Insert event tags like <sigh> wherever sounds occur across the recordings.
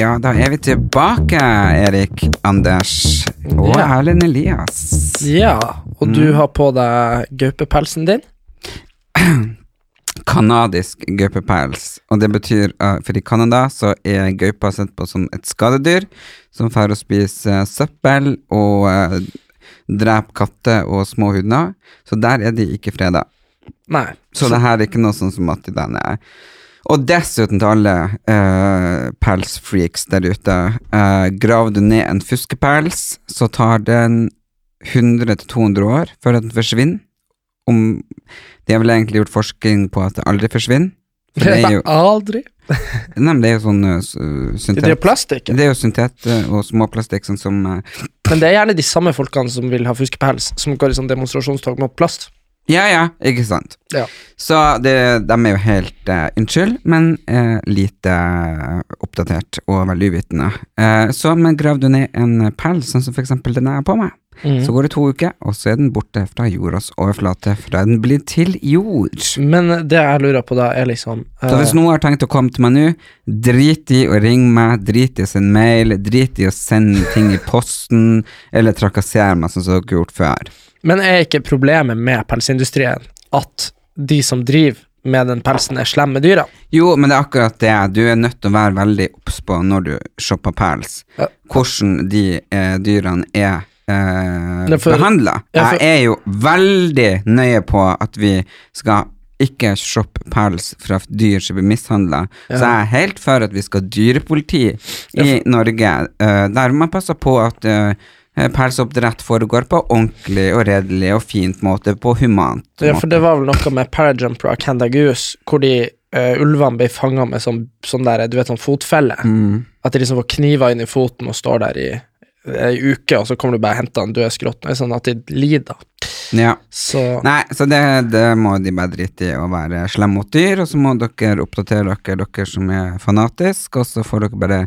Ja, da er vi tilbake, Erik, Anders og Ja. Erlend Elias. Ja, og Mm. du har på deg gaupepelsen din. Kanadisk gaupepels, og det betyr eh, For i Canada så er gaupa sett på som et skadedyr som får å spise søppel og eh, drepe katter og små hunder, så der er de ikke freda. Nei. Så det her er ikke noe sånn som at den er Og dessuten til alle eh, pelsfreaks der ute, eh, graver du ned en fuskepels, så tar den 100-200 år før den forsvinner. Om, de har vel egentlig gjort forskning på at det aldri forsvinner. For det er <laughs> jo, Aldri. nei, men det er jo sånn eh, s- Det er jo syntet, plastikk. det er jo syntet eh, og småplastikk, sånn som eh, Men det er gjerne de samme folkene som vil ha fuskepels, som går i sånn demonstrasjonstog med plast. Ja, ja, ikke sant. Ja. Så det, de er jo helt eh, Unnskyld, men eh, lite eh, oppdatert og veldig uvitende. Eh, så men grav du ned en pels, sånn som for eksempel den jeg har på meg, så går det to uker, og så er den borte fra jordas overflate, fra den blir til jord. Men det jeg lurer på da, er liksom eh, Så hvis noen har tenkt å komme til meg nå, drit i å ringe meg, drit i å sende mail, drit i å sende ting i posten, eller trakassere meg, sånn som dere har gjort før. Men er ikke problemet med pelsindustrien at de som driver med den pelsen, er slemme med dyra? Jo, men det er akkurat det. Du er nødt til å være veldig obs på når du shopper pels, Ja. hvordan de eh, dyrene er eh, Nei, for- behandla. Ja, for- Jeg er jo veldig nøye på at vi skal ikke shoppe pels fra dyr som blir mishandla. Så jeg er helt for at vi skal ha dyrepoliti i Norge, eh, der man passer på at eh, pelsoppdrett foregår på ordentlig og redelig og fint måte, på humant Ja, måte. for det var vel noe med Parajumper og Kanda Goose, hvor de eh, ulvene ble fanga med sånn, sånn der, du vet, sånn fotfelle. Mm. At de liksom får kniver inn i foten og står der i ei uke, og så kommer du bare og henter en død skrott. Det er Sånn at de lider. Ja. Så Nei, så det, det må de bare drite i å være slem mot dyr, og så må dere oppdatere dere, dere som er fanatiske, og så får dere bare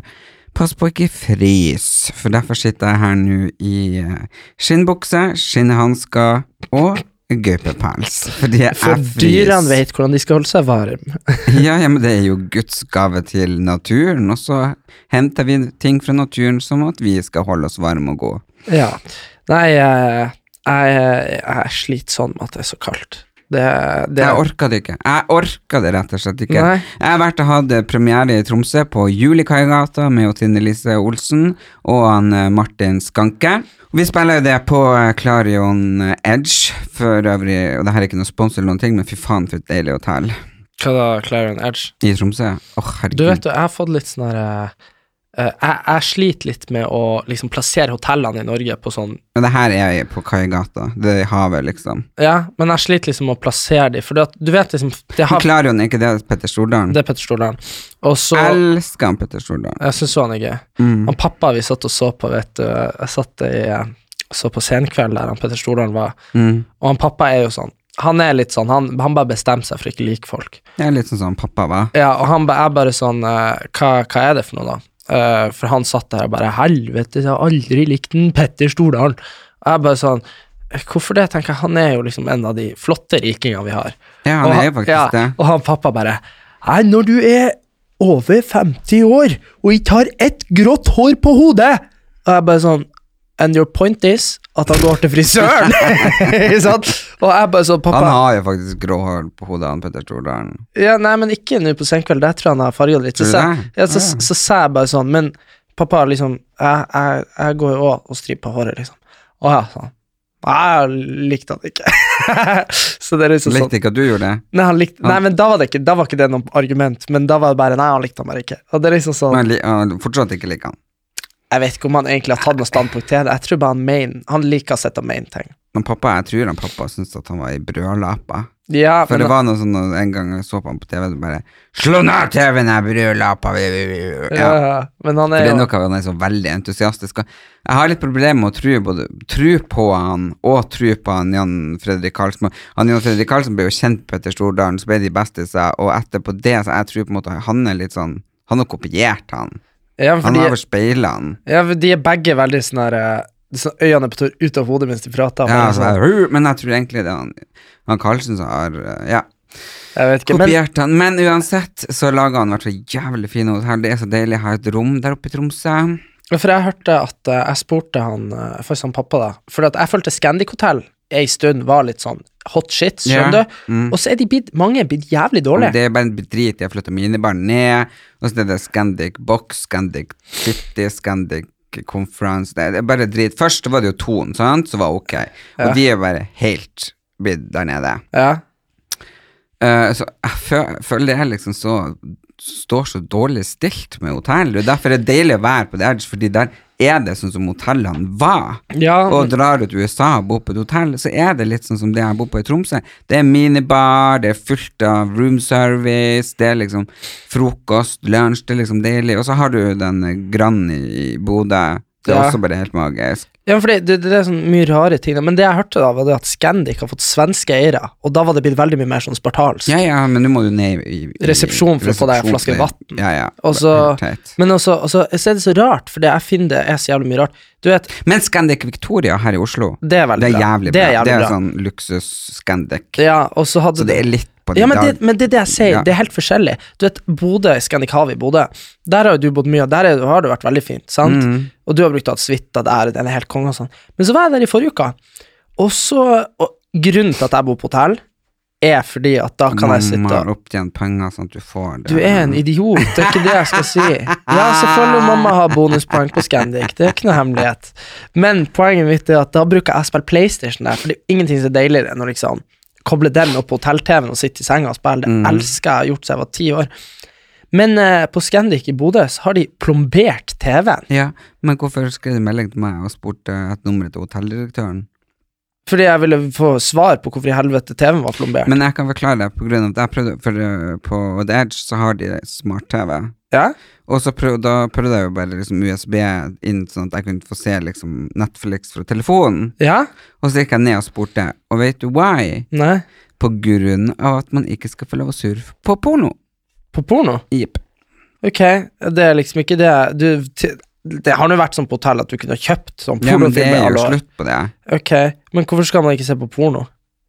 passe på å ikke fryse, for derfor sitter jeg her nå i eh, skinnbukse, skinnhansker og gaupepels, fordi jeg For fryser. dyrene vet hvordan de skal holde seg varme. Ja, ja, men det er jo Guds gave til naturen, og så henter vi ting fra naturen som at vi skal holde oss varme og gode. <laughs> Ja. Nei, jeg, jeg, jeg sliter sånn med at det er så kaldt. Det, det Jeg orka det ikke. Jeg orka det rett og slett ikke. Nei. Jeg har vært og hatt eh, premiere i Tromsø på Julikaigata med jo Trine Lise Olsen og han eh, Martin Skanke. Vi spiller jo det på eh, Clarion Edge for øvrig, og det her er ikke noe sponsor eller noen ting, men fy faen for et deilig hotell Hva da, Clarion Edge? i Tromsø. Åh, herregud. Du vet, jeg har fått litt sånn her eh, eh, jeg, jeg sliter litt med å liksom plassere hotellene i Norge på sånn Men det her er jeg på Kaigata. Det er i havet, liksom. Ja, men jeg sliter liksom med å plassere dem, for det at, du vet liksom Det, Men har, Clarion, er ikke det Petter Stordalen? det er Petter Stordalen. Og så Elsker han Petter Stordalen. Jeg syns han er gøy. Han pappa vi satt og så på, vet du Jeg satt i, eh, så på Senkveld der han Petter Stordalen var, og han pappa er jo sånn han er litt sånn, han, han bare bestemmer seg for ikke å like folk. Jeg er litt sånn som pappa, hva? Ja, og han ba- er bare sånn eh, hva, hva er det for noe, da? Eh, for han satt der og bare Helvete, jeg har aldri likt den Petter Stordalen. Og jeg bare sånn Hvorfor det? tenker jeg, Han er jo liksom en av de flotte rikingene vi har. Ja, han Og er jo faktisk ja, det. Og han pappa bare Nei, når du er over 50 år og ikke har ett grått hår på hodet Og jeg bare sånn And your point is at han går til <laughs> frisøren! <laughs> Ikke sant? Og jeg bare sånn, pappa Han har jo faktisk grå hår på hodet, han Petter Stordalen. ja, nei, men ikke nå på senkveld. Der tror jeg han har farget litt. Så, Tror du det? sa, ja, så, Ah, ja. så sa jeg bare sånn Men pappa, liksom Jeg, jeg, jeg går jo òg og striper håret, liksom. Å ja, sa han. Nei, jeg sånn, likte han ikke. <laughs> så det er liksom sånn Likte ikke at du gjorde det. Nei, han likte, nei men da var, det ikke, da var ikke det noe argument, men da var det bare Nei, han likte han bare ikke. Og det er liksom sånn Men li, han fortsatt ikke liker han. Jeg vet ikke om han egentlig har tatt noe standpunkt til det. Jeg tror bare han main, han liker å sette main ting. Men pappa, jeg tror han pappa syntes at han var i brødlapa. Ja, For men det var noe sånn at en gang jeg så på han på TV, det bare 'Slå ned TV-en, jeg brødlapa!' ja. Ja. men han For er det er jo noe han er så veldig entusiastisk av. Jeg har litt problemer med å tro, både, tro på han og tro på han Jan Fredrik Karlsen. Han Jan Fredrik Karlsen ble jo kjent på Petter Stordalen, så ble de bestiser, og etterpå det så jeg tror på en måte han er litt sånn Han har kopiert han. ja, Han fordi, har overspeila han. ja, for De er begge veldig sånn her eh, sånn Øynene er på tur ut av hodet mens de prater. Ja, altså, men så sånn, jeg, «Hu», men jeg tror egentlig det er han, han Karlsen som har eh, ja, jeg vet ikke, men kopiert han. Men uansett så lager han hvert så jævlig fine hotell. Det er så deilig å ha et rom der oppe i Tromsø. For jeg hørte at eh, jeg spurte han eh, Faktisk han pappa, da. For at jeg følte Scandic Hotel ei stund var litt sånn hot shit, Ja, skjønner mm. du? Og så er de blitt mange er blitt jævlig dårlige. Det er bare en drit. Jeg flytter minibaren ned, og så er det Scandic Box, Scandic City, Scandic Conference Det er bare drit. Først var det jo Ton, sant, som var ok, og de er bare helt blitt der nede. Ja. Eh, så jeg fø- føler jeg liksom så står så dårlig stilt med hotell. og Derfor er det deilig å være på The Edge, fordi der er det sånn som hotellene var. ja Og drar du til USA og bor på et hotell, så er det litt sånn som det jeg bor på i Tromsø. Det er minibar, det er fullt av room service, det er liksom frokost, lunsj, det er liksom deilig. Og så har du den Grand i Bodø. Det er Ja. også bare helt magisk. Ja, fordi det, det er sånn mye rare ting, da. men det jeg hørte da, var det at Scandic har fått svenske eiere, og da var det blitt veldig mye mer sånn spartalsk. Ja, ja, men nå må du ned i, i Resepsjon for å få deg en resepsjon flaske for det. vatten. Ja, ja. Og så- Helt teit. Men også, også, så er det så rart, for det jeg finner det er så jævlig mye rart. Du vet, Men Scandic Victoria her i Oslo, det er veldig det er bra. jævlig bra. Det er jævlig bra. sånn luksus-Scandic. Ja, og så hadde Så det er litt på ja, din men det, dag. men det er det jeg sier, Ja. det er helt forskjellig. Du vet, Bodø, Scandic Havet i Bodø, der har jo du bodd mye, og der er, har det vært veldig fint, sant? Mm. Og du har brukt å ha et suite der, den er helt konge og sånn. Men så var jeg der i forrige uka, og så og Grunnen til at jeg bor på hotell, er fordi at da kan jeg sitte Mamma og har opptjent penger sånn at du får det. Du er en idiot, det er ikke det jeg skal si. Ja, selvfølgelig mamma har bonuspoeng på Scandic, det er ikke noe hemmelighet. Men poenget mitt er at da bruker jeg å spille PlayStation der, for det er ingenting som er deiligere enn å liksom koble den opp på hotell-TV-en og sitte i senga og spille. Det elsker jeg, har gjort siden jeg var ti år. Men eh, på Scandic i Bodø så har de plombert TV-en. Ja, men hvorfor skrev du melding til meg og spurte et nummer til hotelldirektøren? Fordi jeg ville få svar på hvorfor i helvete TV-en var plombert. Men jeg kan forklare det, på grunn av at jeg prøvde, for eh, på The Edge så har de smart-TV. Ja? Og så prøv, da prøvde jeg jo bare liksom USB inn, sånn at jeg kunne få se liksom Netflix fra telefonen. Ja? Og så gikk jeg ned og spurte, og vet du why? Nei? På grunn av at man ikke skal få lov å surfe på porno. På porno? Jepp. Ok, det er liksom ikke det jeg- du, ti- Det har nå vært sånn på hotell at du kunne ha kjøpt sånn Ja, men det pornofilm i er alle jo år. slutt på det. Ok, men hvorfor skal man ikke se på porno? <laughs>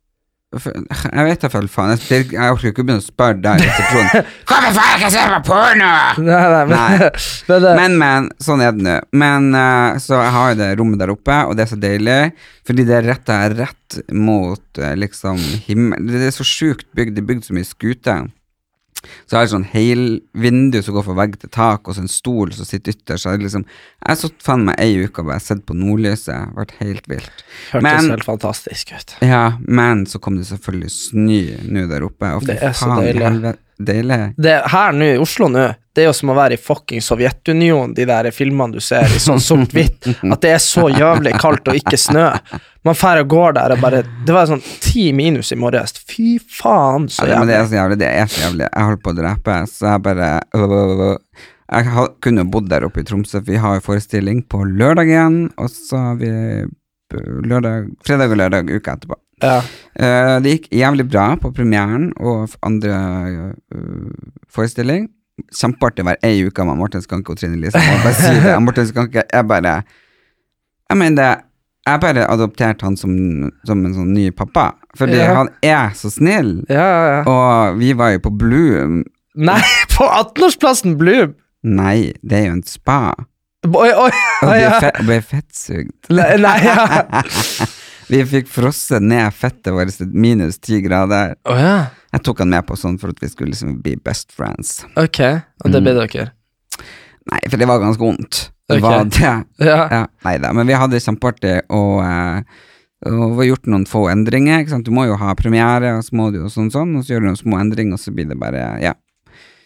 For- Jeg vet da vel faen, jeg, spør- jeg orker jo ikke begynne å spørre deg i resepsjonen. Hvorfor får jeg ikke se på porno? Nei, nei, men, Nei. <laughs> men, det- Men, men, sånn er det nå. Men eh, så jeg har jo det rommet der oppe, og det er så deilig, fordi det er rett der, rett mot eh, liksom himmel Det er så sjukt bygd, det er bygd så mye skuter. Så jeg har et sånn helvindu som går fra vegg til tak, og så en stol som sitter ytterst. Så jeg, liksom, jeg så faen meg ei uke og bare sett på nordlyset, vært helt vilt. hørtes men- helt fantastisk ut. Ja, men så kom det selvfølgelig snø nå der oppe, og fy Det er så faen, deilig. helvete, deilig. Det her nå, i Oslo nå, det er jo som å være i fucking Sovjetunionen, de der filmene du ser i sånn sort-hvitt, <laughs> at det er så jævlig kaldt og ikke snø. Man drar og går der og bare Det var sånn ti minus i morges. Fy faen, så Ja, men det er sånn- så jævlig. jævlig, det er så jævlig. Jeg holdt på å drepe, så jeg bare øh, Jeg ha- kunne jo bodd der oppe i Tromsø, for vi har jo forestilling på lørdagen, og så har vi øh, lørdag, fredag og lørdag uka etterpå. Ja. Eh, det gikk jævlig bra på premieren og f- andre eh, forestilling. Kjempeartig hver ei uke med Martin Skanke og Trine Lise. Jeg må bare si det. Martin Skanke er bare Jeg mener det Jeg bare adopterte han som, som en sånn ny pappa, fordi Ja. han er så snill. Ja, ja, ja. Og vi var jo på Bloom. Nei, på 18-årsplassen Bloom! Nei, det er jo en spa. Oi, oi, Og oi, vi ja. fe og ble fettsugd. Nei, nei ja. Vi fikk frosset ned fettet vårt til minus ti grader. Å ja. Jeg tok han med på sånn for at vi skulle liksom bli best friends. Ok, og det ble dere. Nei, for det var ganske vondt. Det Ok. var det. Ja. Ja, nei da, men vi hadde det kjempeartig, og eh, Og vi har gjort noen få endringer. Ikke sant? Du må jo ha premiere, og så må du jo sånn, sånn, og så gjør du noen små endringer, og så blir det bare Ja.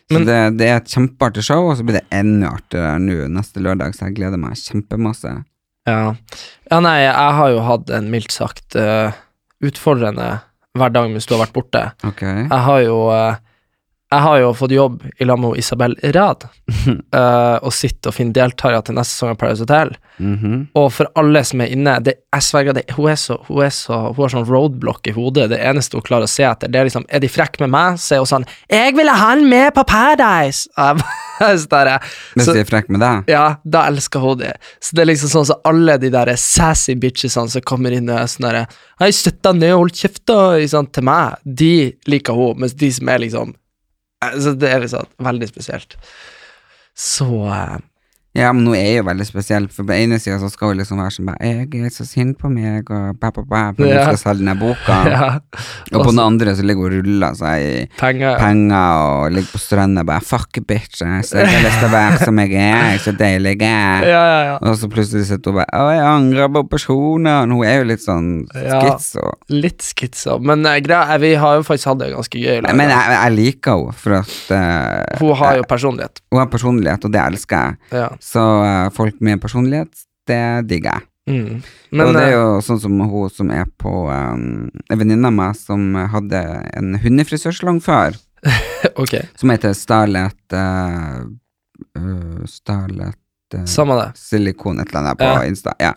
Så Men- det, det er et kjempeartig show, og så blir det enda artigere nå neste lørdag, så jeg gleder meg kjempemasse. Ja. ja, nei, jeg har jo hatt en mildt sagt eh, utfordrende hverdag mens du har vært borte. Ok. Jeg har jo eh, Jeg har jo fått jobb i lag med Isabel Rad, <laughs> eh, og sitter og finner deltakere til neste sesong av Paradise Hotel. Mhm. Og for alle som er inne det, Jeg sverger, det, hun, er så, hun, er så, hun har sånn roadblock i hodet. Det eneste hun klarer å se etter, det er liksom Er de frekke med meg, så er hun sånn 'Jeg ville ha han med på Paradise!' Og Jeg, <laughs> så der, jeg- Hvis så, jeg er frekk med deg? ja, da elsker hun det. Så det er liksom sånn som alle de der sassy bitchesene som kommer inn og er sånn derre Hei, støtt deg ned, hold kjeft, da, ikke sant, til meg. De liker hun, mens de som er liksom Altså, det er liksom veldig spesielt. Så eh, Ja, men nå er jeg jo veldig spesiell, for på ene sida så skal hun liksom være sånn bare 'Jeg er så sint på meg', og bæ, bæ, bæ, for hun Ja. skal selge denne boka. <laughs> Ja. altså. Og på den andre så ligger hun og ruller seg i Penger. penger og ligger på stranda og bare 'fuck bitch', jeg så jeg har lyst til å være som jeg er, jeg er så deilig jeg er. Ja, ja, ja. Og så plutselig sitter hun bare 'å, jeg angrer på personen', hun er jo litt sånn Ja. skits og Litt skitsa. Men eh, greia er, vi har jo faktisk hatt det ganske gøy. i lag. Men jeg, jeg liker henne for at eh, Hun har jo personlighet. hun har personlighet, og det elsker jeg. Ja. Så eh, folk med personlighet, det digger jeg. Mm. Men og det er eh, jo sånn som hun som er på um, En venninne av meg som hadde en hundefrisørsalong før, <laughs> ok, som heter Starlet eh, øh, Starlet eh, samme det. Silikon, et eller annet på Ja. Insta. Ja.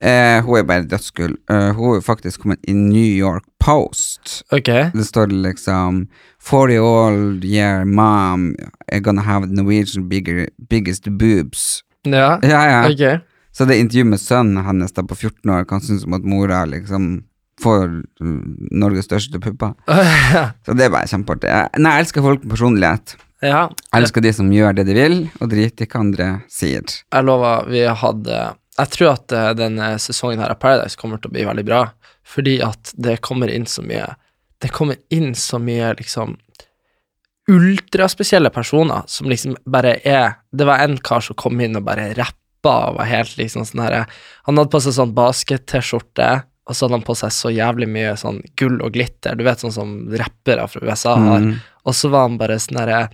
Eh, hun er bare dødsgull. Eh, hun er faktisk kommet i New York Post. Ok. Det står liksom 40 old year mom are gonna have Norwegian bigger, biggest boobs. Ja. Ja, ja. Ok. Så det intervjuet med sønnen hennes da på 14 år kan synes som at mora liksom får mm, Norges største pupper. Så det er bare kjempeartig. Jeg- Nei, jeg elsker folk med personlighet. Ja. Jeg elsker de som gjør det de vil, og driter i hva andre sier. Jeg lover, vi hadde Jeg tror at eh, denne sesongen her av Paradise kommer til å bli veldig bra, fordi at det kommer inn så mye Det kommer inn så mye, liksom Ultraspesielle personer som liksom bare er Det var en kar som kom inn og bare rappa og var helt liksom sånn herre Han hadde på seg sånn basket-T-skjorte, og så hadde han på seg så jævlig mye sånn gull og glitter, du vet sånn som rappere fra USA har. Mm. Og så var han bare sånn herre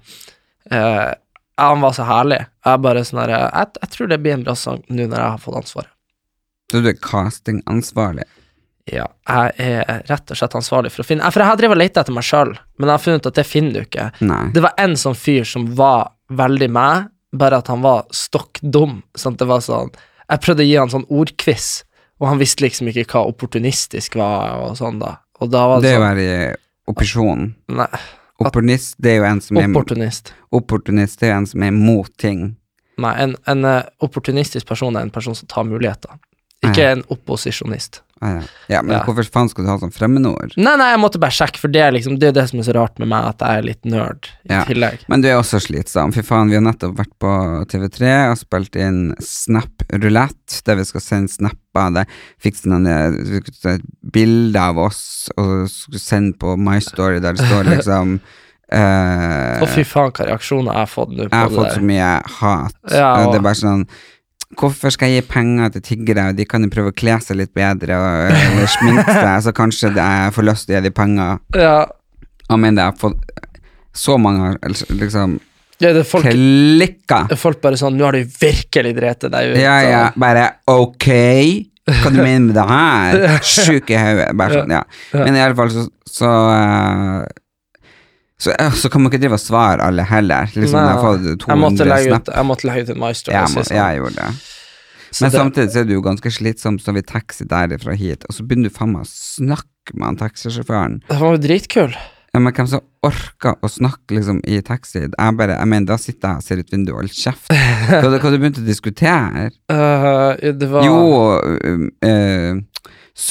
eh, ja, Han var så herlig. Jeg bare sånn herre jeg, jeg tror det blir en bra sang nå når jeg har fått ansvaret. Så du er castingansvarlig. Ja, jeg er rett og slett ansvarlig for å finne For jeg har drevet og leta etter meg sjøl, men jeg har funnet ut at det finner du ikke. Nei. Det var en sånn fyr som var veldig meg, bare at han var stokk dum. Sånn at det var sånn Jeg prøvde å gi han sånn ordquiz, og han visste liksom ikke hva opportunistisk var, og sånn, da. Og da var det, Det å sånn være opposjon. Nei, Opportunist, det er jo en som er opportunist. Opportunist, det er jo en som er mot ting. Nei, en, en eh, opportunistisk person er en person som tar muligheter. Ikke en opposisjonist. Ah, Ja, ja men Ja. hvorfor faen skal du ha sånn fremmedord? Nei, nei, jeg måtte bare sjekke, for det er liksom, det er jo det som er så rart med meg, at jeg er litt nerd i Ja. tillegg. Men du er også slitsom. Fy faen, vi har nettopp vært på TV3 og spilt inn Snap Roulette, der vi skal sende snapper. Der fikk sånn en- vi fikk et bilde av oss og skulle sende på My Story, der det <laughs> står liksom eh, Å, fy faen, hva reaksjoner jeg har fått nå på Jeg har det fått så der. mye hat. Ja, og det er og- bare sånn Hvorfor skal jeg gi penger til tiggere, og de kan jo prøve å kle seg litt bedre og, eh, eller <laughs> sminke seg, så kanskje det jeg får lyst til å gi de penger. Ja, Jeg mener, jeg har fått så mange liksom ja det er folk, klikka. folk bare sånn, nå har du virkelig drept deg ut. Ja, og- ja, bare ok Hva <laughs> du mener med det her? Sjuk i hodet. Bare sånn, ja. Men i alle fall så Så, eh, så, eh, så kan man ikke drive og svare alle heller. Liksom, Nei, jeg har fått jeg 200 måtte legge ut, snap. jeg måtte legge ut en maestro. Ja, og si må- sånn. ja, jeg gjorde det. Så Men det- samtidig så er du jo ganske slitsom, så vi taxi derifra hit, og så begynner du faen meg å snakke med han taxisjåføren. Den var jo dritkul. Ja, Men hvem som orker å snakke liksom i taxi? Jeg bare, jeg mener, da sitter jeg og ser ut vinduet og holder <laughs> kjeft. Hva hva har du begynt å diskutere? Eh, det var Jo, um, eh,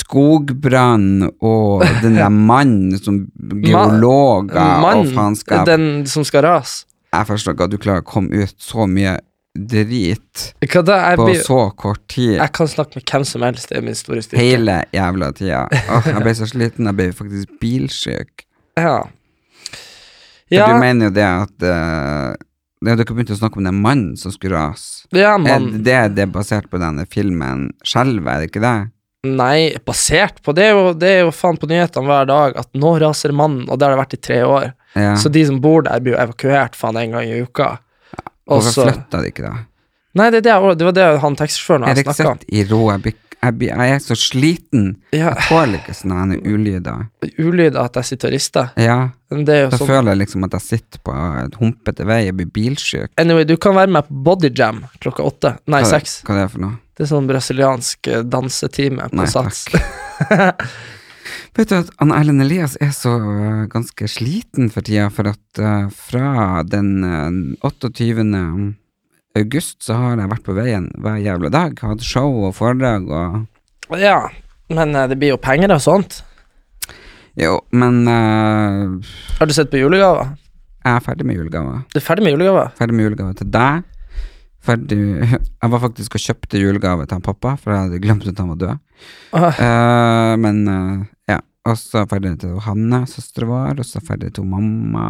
skogbrann og den <laughs> der mannen som geologer og faenskap. den som skal rase. Jeg forstår ikke at du klarer å komme ut så mye drit Hva da? Jeg, på blir, så kort tid. jeg kan snakke med hvem som helst, det er min store styrke. Hele jævla tida. Åh, jeg ble så sliten, jeg ble faktisk bilsjuk. Ja. For Ja, du mener jo det at eh, ja, Dere begynte å snakke om den mannen som skulle rase. ja Er mann. det det er basert på denne filmen 'Skjelvet', er det ikke det? Nei, basert på Det er jo, det er jo faen på nyhetene hver dag at nå raser mannen, og det har det vært i tre år. Ja. Så de som bor der, blir jo evakuert faen en gang i uka. Og Hvorfor så flytta de ikke, da? Nei, det, er det, jeg- det var det han taxisjåføren Jeg jeg er ikke snakka om. sett i rå Jeg blir- jeg blir- jeg er så sliten. Ja. Jeg tåler ikke sånne her ulyder. Ulyder at jeg sitter og rister. Ja, Men det er da jo sånn. føler jeg liksom at jeg sitter på en humpete vei og blir bilsjuk. Anyway, du kan være med på Bodyjam klokka åtte. Nei, Hva- seks. Hva er det for noe? Det er sånn brasiliansk eh, dansetime på Nei, Sats. <laughs> Vet du at Ann Erlend Elias er så øh, ganske sliten for tida, for at øh, fra den øh, 28. august så har jeg vært på veien hver jævla dag. Hatt show og foredrag og <laughs> ja, men eh, det blir jo penger og sånt. Jo, men øh, Har du sett på julegaver? jeg er ferdig med julegaver. Du er ferdig med julegaver? Ferdig med julegave til deg. Ferdig <laughs> Jeg var faktisk og kjøpte julegave til han pappa, for jeg hadde glemt at han var død. Åh, Eh, men eh, ja. Og så ferdig til Hanne, søstera vår, og så ferdig til mamma.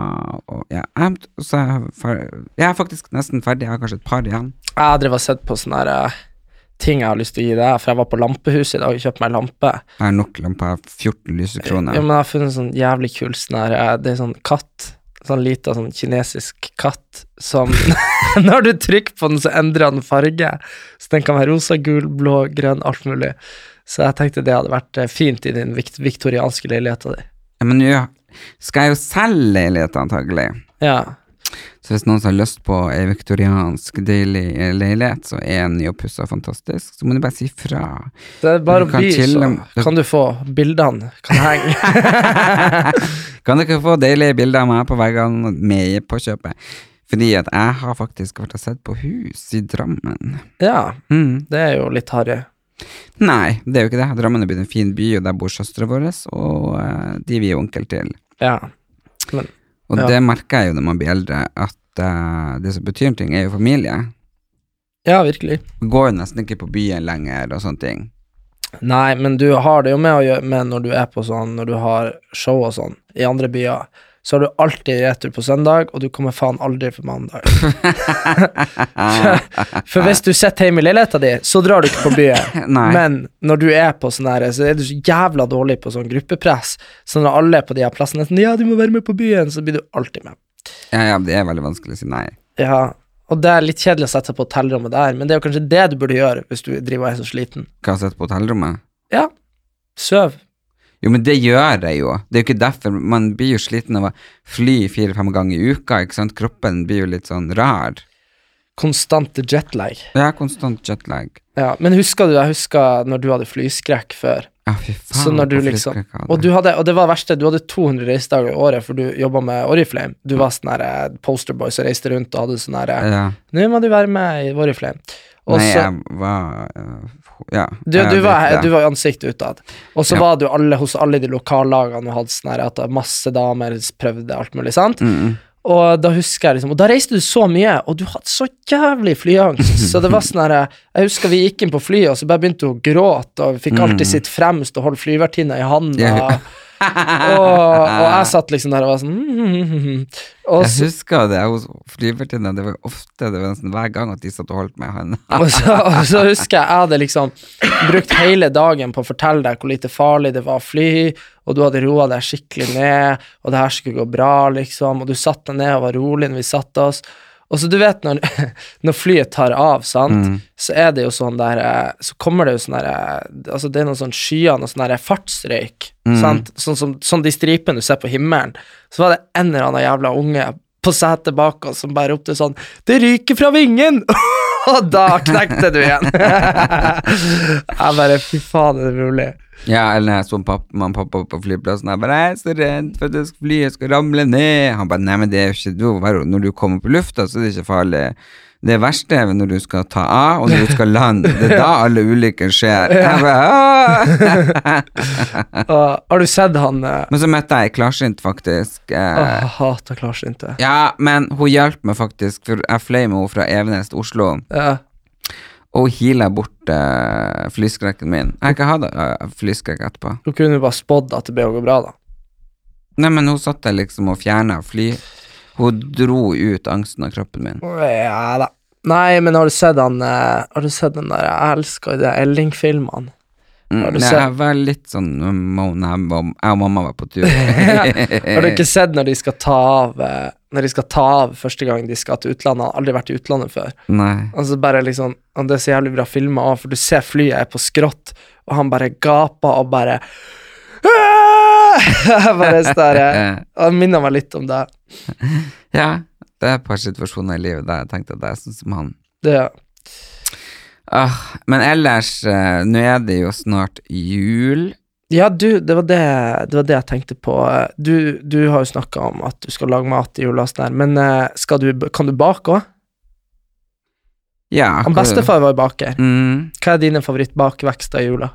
Og ja, jeg, og så er jeg, fer- jeg er faktisk nesten ferdig, jeg har kanskje et par igjen. jeg har drevet og sett på sånne her, eh, ting jeg har lyst til å gi deg, for jeg var på Lampehuset i dag og kjøpte meg lampe. Jeg har nok lamper, jeg har 14 Ja, lysekroner. men jeg har funnet sånn jævlig kul sånn her eh, Det er sånn katt. Sånn lita sånn kinesisk katt som <laughs> Når du trykker på den, så endrer den farge. Så den kan være rosa, gul, blå, grønn, alt mulig. Så jeg tenkte det hadde vært eh, fint i din vikt viktorianske leilighet. av di. Ja, men nå skal jeg jo selge leilighet, antagelig. Ja. Så hvis noen som har lyst på ei viktoriansk, deilig eh, leilighet, så er en nyoppussa fantastisk, så må du bare si fra. Det er bare Du å kan by, til så og med- kan du få bildene. Kan henge. Kan dere få deilige bilder av meg på veggene med på kjøpet? Fordi at jeg har faktisk vært og sett på hus i Drammen. <laughs> ja, Mm. det er jo litt harry. Nei, det er jo ikke det. Drammen er blitt en fin by, og der bor søstera vår, og eh, de vi er onkel til. Ja. Og Ja. det merker jeg jo når man blir eldre, at eh, det som betyr noe, er jo familie. ja, virkelig. Vi går jo nesten ikke på byen lenger og sånne ting. Nei, men du har det jo med å gjøre med når du er på sånn, når du har show og sånn, i andre byer, så har du alltid retur på søndag, og du kommer faen aldri for mandag. for hvis du sitter hjemme i leiligheta di, så drar du ikke på byen. Nei. Men når du er på sånn her, så er du så jævla dårlig på sånn gruppepress, så når alle er på de her plassene sånn, ja, du må være med på byen, så blir du alltid med. Ja, ja, det er veldig vanskelig å si nei. Ja, og det er litt kjedelig å sette seg på hotellrommet der, men det er jo kanskje det du burde gjøre hvis du driver og er så sliten. Hva har jeg sett på hotellrommet? Ja, søv. Jo, men det gjør jeg jo. Det er jo ikke derfor. Man blir jo sliten av å fly fire-fem ganger i uka, ikke sant. Kroppen blir jo litt sånn rar. Konstant jetlag. Jeg har konstant jetlag. Ja, men husker du, jeg husker når du hadde flyskrekk før, Ja, fy faen. så når du hvorfor liksom husker jeg ikke av og, det? du hadde, og det var det verste, du hadde 200 reisedager i året, for du jobba med Oriflame. Du var sånn her eh, posterboy som reiste rundt og hadde sånn her eh, ja. Nå må du være med i Oriflame. Og Nei, så jeg var øh, Ja. du, jeg du, vet var, det. du var ansiktet utad, og så Ja. var du alle, hos alle de lokallagene og hadde sånn her at masse damer prøvde alt mulig, sant? Mm, Og da husker jeg liksom Og da reiste du så mye, og du hadde så jævlig flyangst. <laughs> Så det var sånn her Jeg husker vi gikk inn på flyet, og så bare begynte hun å gråte, og fikk alltid sitt fremst og holdt flyvertinna i handa. Ja. Og, og jeg satt liksom der og var sånn <laughs> mm, mm, mm, mm. Og Jeg så, husker det hos flyvertinna. Det var ofte, det var nesten hver gang at de satt og holdt meg i hånda. og, så, og så husker jeg jeg hadde liksom brukt hele dagen på å fortelle deg hvor lite farlig det var å fly, og du hadde roa deg skikkelig ned, og det her skulle gå bra, liksom, og du satte deg ned og var rolig når vi satte oss. Og så du vet når, <laughs> når flyet tar av, sant, så er det jo sånn der eh, Så kommer det jo sånn der eh, Altså det er noen sånn skyer, noe sånn der fartsrøyk, sant, sånn som sånn de stripene du ser på himmelen. Så var det en eller annen jævla unge på setet bak oss som bare ropte sånn 'Det ryker fra vingen!' <laughs> Og da knekte du igjen. <laughs> jeg bare Fy faen, er det mulig? Ja, eller når jeg så papp- mamma og pappa på flyplassen, jeg bare 'Jeg er så redd for at jeg skal fly, jeg skal ramle ned'. Han bare 'Nei, men det er jo ikke du, bare Når du kommer på lufta, så er det ikke farlig'. Det verste er vel når du skal ta av, og når du skal lande. Det er da alle ulykker skjer. Jeg bare, «Åh!» Og, har du sett han eh, men så møtte jeg ei klarsynt, faktisk. Åh, Eh, jeg hater klarsynte. Ja, men hun hjalp meg faktisk, for jeg fløy med henne fra Evenes til Oslo, Ja. og hun heala bort eh, flyskrekken min. Jeg har ikke hatt eh, flyskrekk etterpå. Du kunne jo bare spådd at det ble å gå bra, da. Nei, men hun satt der liksom og fjerna fly. Hun dro ut angsten av kroppen min. Ja da. <laughs> Nei, men har du sett han eh, Har du sett den der Jeg elsker de der Elling-filmene. Mm, Har du nei, sett- jeg var litt sånn um, Mona, bom- Jeg og mamma var på <laughs> tur. Har du ikke sett når de skal ta av eh, Når de skal ta av første gang de skal til utlandet? Han har aldri vært i utlandet før. Nei. Altså bare liksom og Det er så jævlig bra filma òg, for du ser flyet er på skrått, og han bare gaper og bare <laughs> Bare sånn der eh, Han minner meg litt om det. Ja, det er et par situasjoner i livet der jeg tenkte at det er sånn som han. det Ah, men ellers, eh, nå er det jo snart jul. ja, du, det var det, det var det jeg tenkte på. Eh, Du, du har jo snakka om at du skal lage mat i jula, og sånn her, men eh, skal du, kan du bake òg? Ja, akkurat- Bestefar var jo baker. Mm, Hva er dine favorittbakvekster i jula?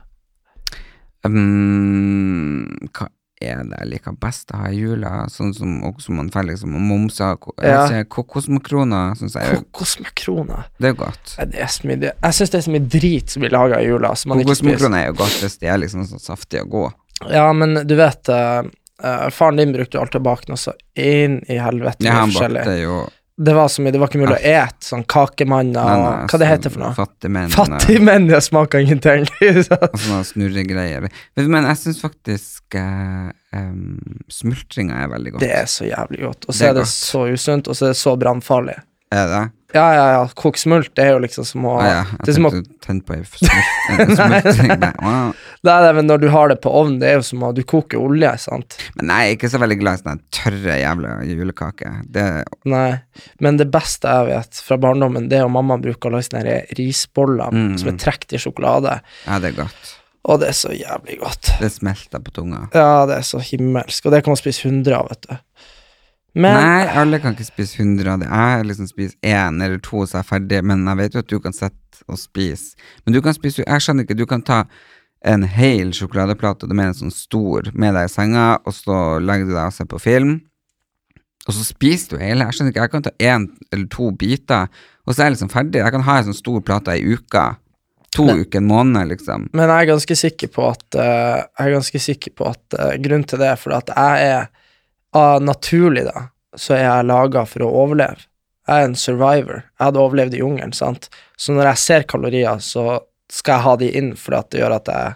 mm, hva er det jeg liker best å ha i jula? Sånn som også man får liksom momser, ko Ja. ja. kokosmakroner. Sånn, så Kokosmakroner. det er jo godt. Nei, Det er så mye det- Jeg syns det er så mye drit som blir laga i jula som man ikke spiser. Kokosmakroner er jo godt hvis de er liksom sånn saftige og gode. Ja, men du vet eh, eh, Faren din brukte jo alltid å bake noe så inn i helvete. mye Ja, han forskjellig. bakte jo Det var så mye, det var ikke mulig å ete sånn kakemanner eh, og Hva det sånn heter for noe? Fattigmenn. <laughs> Fattigmenn, det smaker ingenting. <laughs> Så- eh, Og sånne snurregreier. Men men jeg syns faktisk eh, em, smultringa er veldig godt. det er så jævlig godt. Og Det så er er det godt. så usunt, og så er det så brannfarlig. Er det? Ja, ja, ja, kokt smult det er jo liksom som å Ah, ja. Det er Jeg som å tenkte du tente på ei smult- <laughs> smultring. Nei, wow. Nei, nei, men når du har det på ovnen, det er jo som å Du koker olje, sant? Men jeg er ikke så veldig glad i sånne tørre jævla julekaker. Det, Nei, men det beste jeg vet fra barndommen, det er jo mamma bruker å lage sånne her risboller Mm. som er trukket i sjokolade, ja, det er godt. og det er så jævlig godt. Det smelter på tunga. Ja, det er så himmelsk, og det kan man spise 100 av, vet du. Men Nei, alle kan ikke spise 100 av det. Jeg har liksom spist én eller to, så er jeg ferdig. Men jeg vet jo at du kan sette og spise. Men du kan spise jo- Jeg skjønner ikke. Du kan ta en hel sjokoladeplate, og det er en sånn stor, med deg i senga, og så legger du deg og ser på film. Og så spiser du hele. Jeg skjønner ikke. Jeg kan ta én eller to biter, og så er jeg liksom ferdig. Jeg kan ha en sånn stor plate ei uke. To uker, en måned, liksom. Men jeg er ganske sikker på at, eh, jeg er ganske sikker på at eh, grunnen til det er fordi at jeg er av naturlig, da, så er jeg laga for å overleve. Jeg er en survivor. Jeg hadde overlevd i jungelen, sant. Så når jeg ser kalorier, så skal jeg ha de inn, fordi at det gjør at jeg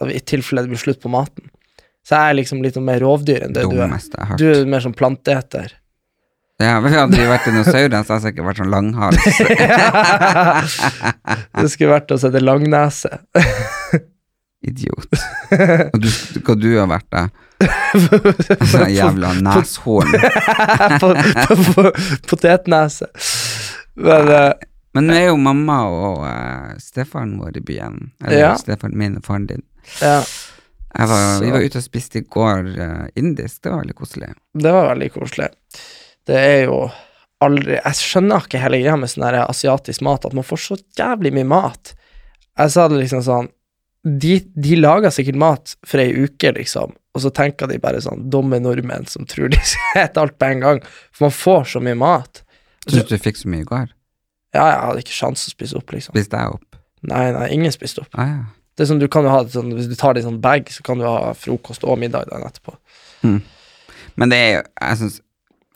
at I tilfelle det blir slutt på maten. Så jeg er liksom litt mer rovdyr enn det du er. Dummeste jeg har hørt. Du er mer sånn planteeter. Ja, men hadde vi vært dinosaurer, så hadde jeg sikkert vært sånn <laughs> langhals. Det skulle vært å sette langnese. <laughs> Idiot. Og du, hva du har vært da? Sånn jævla neshorn. På- på- Potetnese. Men eh, Men nå er jo mamma og eh, stefaren vår i byen. Eller Ja. stefaren min og faren din. ja. Jeg var, vi Så- var ute og spiste i går eh, indisk, det var veldig koselig. Det var veldig koselig. Det er jo aldri Jeg skjønner ikke hele greia med sånn her asiatisk mat, at man får så jævlig mye mat. Jeg sa det liksom sånn De, de lager sikkert mat for ei uke, liksom, og så tenker de bare sånn Dumme nordmenn som tror de skal <laughs> spise alt på en gang, for man får så mye mat. Syns du fikk så mye i går? Ja, jeg hadde ikke sjanse å spise opp, liksom. Spiste jeg opp? Nei, nei, ingen spiste opp. Ah, ja. Det er sånn, du kan jo ha det sånn, Hvis du tar det i sånn bag, så kan du ha frokost og middag dagen etterpå. Men det er jo, jeg synes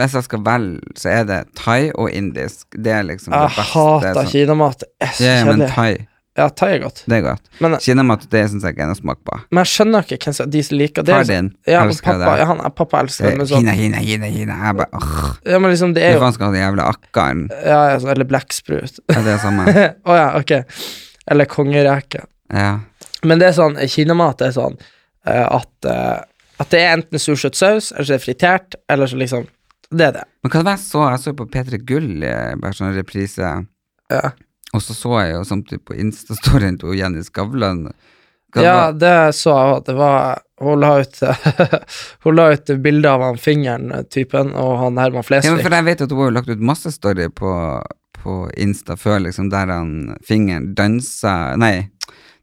hvis jeg skal velge, så er det thai og indisk. Det er liksom det Jeg beste. hater sånn. kinamat. Det er så Ja, ja, men kjedelig. thai, Ja, thai er godt. det er godt. Men Kinamat, det syns jeg ikke er noe smak på. Men jeg skjønner ikke hvem som de som liker det. Far din ja, men elsker pappa, det. Ja, han, ja, pappa elsker det, men sånn Hina, hina, hina, hina. Jeg bare åh. Ja, men liksom, det Hva er jo faen skal den jævla akkaren? ja, ja, sånn, Eller blekksprut. <laughs> Å Er det samme? ja, ok. Eller kongereke. Ja. Men det er sånn, kinamat er sånn eh, at eh, At det er enten sursøt saus, eller så er det fritert, eller så liksom Det er det. Men hva var det jeg så? Jeg så på P3 Gull, eh, bare sånn reprise. Ja. Og så så jeg jo samtidig på Insta-storyen til Jenny Skavlan. Hva Ja, var- det så jeg òg. Det var Hun la ut <laughs> Hun la ut bilde av han fingeren-typen og han Herman Ja, men Flesvig. for jeg vet at hun har jo lagt ut masse story på, på Insta før, liksom, der han fingeren danser Nei,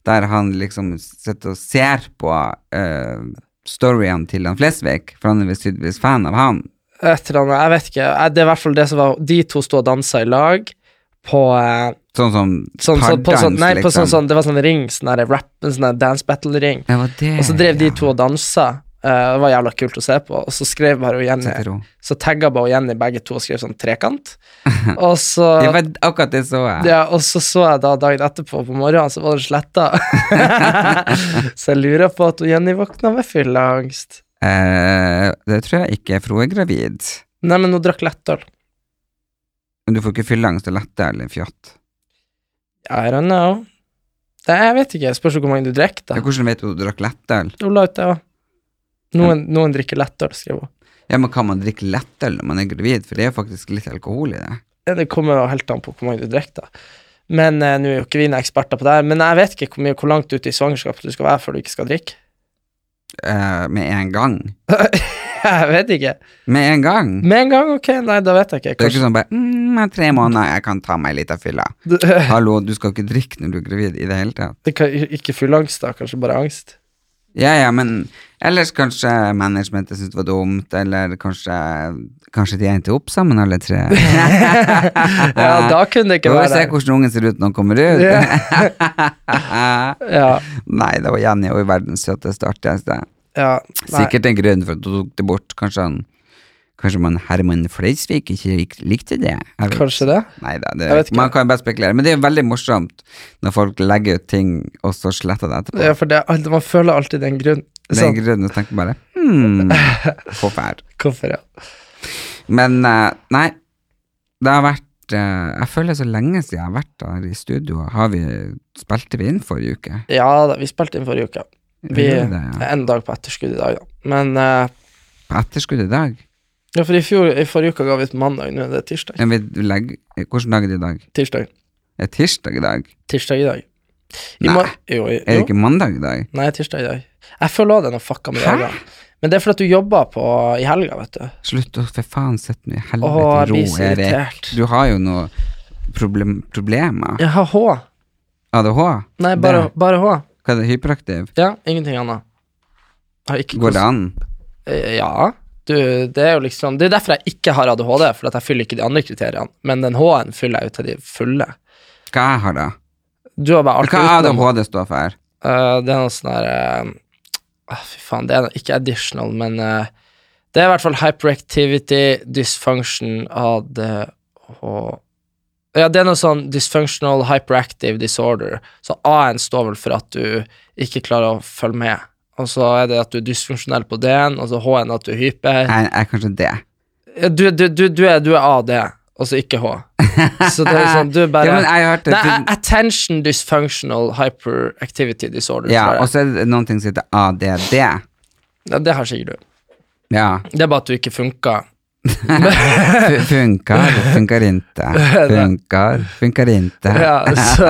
der han liksom sitter og ser på eh, storyen til han Flesvig, for han er visst tydeligvis fan av han. Et eller annet, jeg vet ikke. Eh, Det er i hvert fall det som var De to sto og dansa i lag på eh, Sånn som Sånn, sånn, på sånn, pardans, nei, på liksom. sånn, sånn, det var sånn ring, sånn der rap, en sånn der dance battle-ring. Det var det. Og så drev de ja. to og dansa Eh, det var jævla kult å se på. Og så skrev bare hun Jenny Setter hun. Så tagga bare hun Jenny begge to og skrev sånn <laughs> trekant. Og så Det var akkurat det så jeg. ja, og så så jeg da dagen etterpå på morgenen, så var den sletta. <laughs> så jeg lurer på at hun Jenny våkna med fylleangst. Eh, det tror jeg ikke, for hun er gravid. Nei, men hun drakk lettøl. Men du får ikke fylleangst og lette eller fjott. I don't know. Det, jeg vet ikke, jeg spørs jo hvor mange du drikker, Ja, da. hvordan vet du at du drakk lettøl? Hun la ut det, ja. Noen, noen drikker lettøl, skrev hun. Ja, men kan man drikke lettøl når man er gravid? For det er jo faktisk litt alkohol i det. Ja, Det kommer jo helt an på hvor mange du drikker, da. Men eh, nå er jo ikke vi noen eksperter på det her, men jeg vet ikke hvor, mye, hvor langt ut i svangerskapet du skal være før du ikke skal drikke. <laughs> Eh, med en gang. jeg vet ikke. Med en gang! Med en gang, ok, nei, da vet jeg ikke. Det er ikke Kanskje, sånn bare mm, jeg er tre måneder, jeg kan ta meg litt av fylla. Hallo, du skal ikke drikke når du er gravid i det hele tatt. <laughs> det kan, ikke fylleangst, da, kanskje bare angst. Ja, ja, men ellers kanskje managementet syntes det var dumt, eller kanskje, kanskje de endte opp sammen alle <laughs> tre. Ja, da kunne det ikke Skal vi være se hvordan ungen ser ut når han kommer ut? <laughs> Ja, Nei, det var Jenny og verdens søteste, artigste. ja. Nei. Sikkert en grunn for at hun tok det bort. Kanskje han Kanskje man Herman Fleisvik ikke lik- likte det? Jeg vet Kanskje ikke. det? Nei da, Jeg vet det, ikke. man kan bare spekulere. Men det er jo veldig morsomt når folk legger ut ting, og så sletter det etterpå. Ja, for det, er alt- man føler alltid den grunn. Det er en Sånn, grunn å tenke bare hmm, <laughs> forferd. hvorfor, ja. Men eh, nei, det har vært eh, Jeg føler så lenge siden jeg har vært her i studio. Har vi, spilte vi inn forrige uke? Ja da, vi spilte inn forrige uke. Vi gjorde er det, ja. en dag på etterskudd i dag, da. Men eh, På etterskudd i dag? ja, for i, fjor, i forrige uke ga vi ut mandag, nå er det tirsdag. Ja, vi legger, hvordan dag er det i dag? Tirsdag. Det er tirsdag i dag. Tirsdag i dag. I Nei. mor- Jo, i- Er det jo. ikke mandag i dag? Nei, tirsdag i dag. Jeg føler òg det er noe fucka med dager. Men det er fordi at du jobber på i helga, vet du. Slutt å for faen sette meg i Åh, jeg helvete i blir ro, så Erik. irritert. Du har jo noe problem, problemer. Jeg har H. ADH? Nei, bare, Det. bare H. Hva er det, hyperaktiv? Ja, ingenting annet. Jeg har ikke Går det an? Eh, Ja. Du, det er jo liksom Det er derfor jeg ikke har ADHD, for at jeg fyller ikke de andre kriteriene. Men den H-en fyller jeg jo til de fulle. Hva jeg har da? Du har bare alt Hva utenom. ADHD står for? Eh, det er noe sånn her eh, ah, Fy faen, det er noe- ikke additional, men eh, det er i hvert fall hyperactivity, dysfunction, ADH Ja, det er noe sånn dysfunctional hyperactive disorder. Så A-en står vel for at du ikke klarer å følge med. Og så er det at du er dysfunksjonell på D-en, og så H-en at du er hyper. Jeg jeg er kanskje det. Ja, Du, du, du, du, er, du er AD, altså ikke H. <laughs> Så det er liksom, du er bare Ja, men jeg har hørt det Nei, til- Attention Dysfunctional Hyperactivity Disorder. Ja, tror jeg. og så er det noen ting som heter ADD. Ja, det har sikkert du. Ja. Det er bare at du ikke funker. <laughs> Fu- Funkar, funkar inte. Funkar, funkar inte. Ja, så,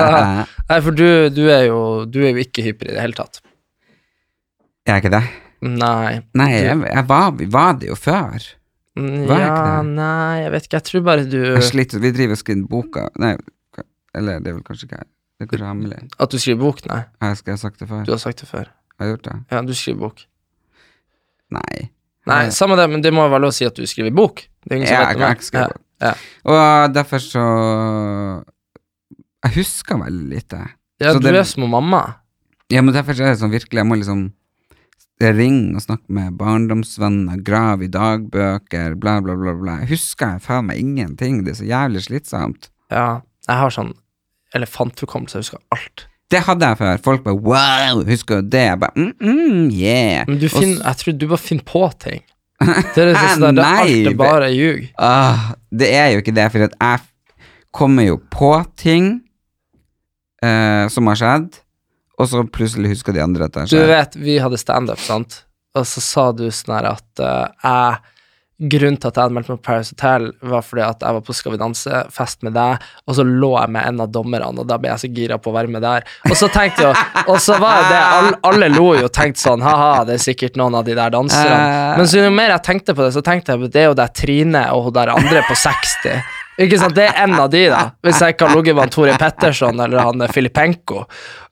nei, for du, du, er jo, du er jo ikke hyper i det hele tatt. Jeg <laughs> er ikke det. Nei. Nei, jeg, jeg var, var det jo før. Mm, Hva er ja, ikke det? nei, jeg vet ikke. Jeg tror bare du Jeg sliter, vi driver og skriver boka. Nei, hva- eller det er vel kanskje ikke Det er kanskje hemmelig. At du skriver bok? Nei, Har jeg, skal jeg ha sagt det før? du har sagt det før. Har jeg gjort det? Ja, du skriver bok. Nei. Nei, samme det, men det må jo være lov å si at du skriver bok. Det er ingen som Jeg, vet jeg, om jeg det. skriver Ja. bok. Og derfor så Jeg husker veldig lite. Ja, Så du det- er som mamma. Ja, men derfor så er det sånn virkelig Jeg må liksom ringe og snakke med barndomsvenner, grave i dagbøker, bla, bla, bla. bla. Jeg husker jeg faen meg ingenting. Det er så jævlig slitsomt. Ja, jeg har sånn elefanthukommelse, jeg husker alt. Det hadde jeg før. Folk bare wow, husker du det? Jeg bare mm, mm, yeah. Men du Og så- finner, jeg tror du bare finner på ting. <laughs> Det er liksom sånn der, det er Nei, alt det- er bare ljug. Ah, det er jo ikke det, for at jeg kommer jo på ting eh, som har skjedd, og så plutselig husker de andre at det har Du skjedd. vet, vi hadde standup, sant? Og så sa du sånn her at eh, jeg Grunnen til at jeg hadde meldt meg på Paris Hotel, var fordi at jeg var på Skal vi danse-fest med deg, og så lå jeg med en av dommerne, og da ble jeg så gira på å være med der. Og så tenkte jeg, og så var jo det alle, alle lo jo og tenkte sånn ha-ha, det er sikkert noen av de der danserne. Men så jo mer jeg tenkte på det, så tenkte jeg det er jo der Trine og hun der andre på 60. Ikke sant, Det er en av de, da. Hvis jeg ikke har ligget med han Tore Petterson eller han eh, Filipenko.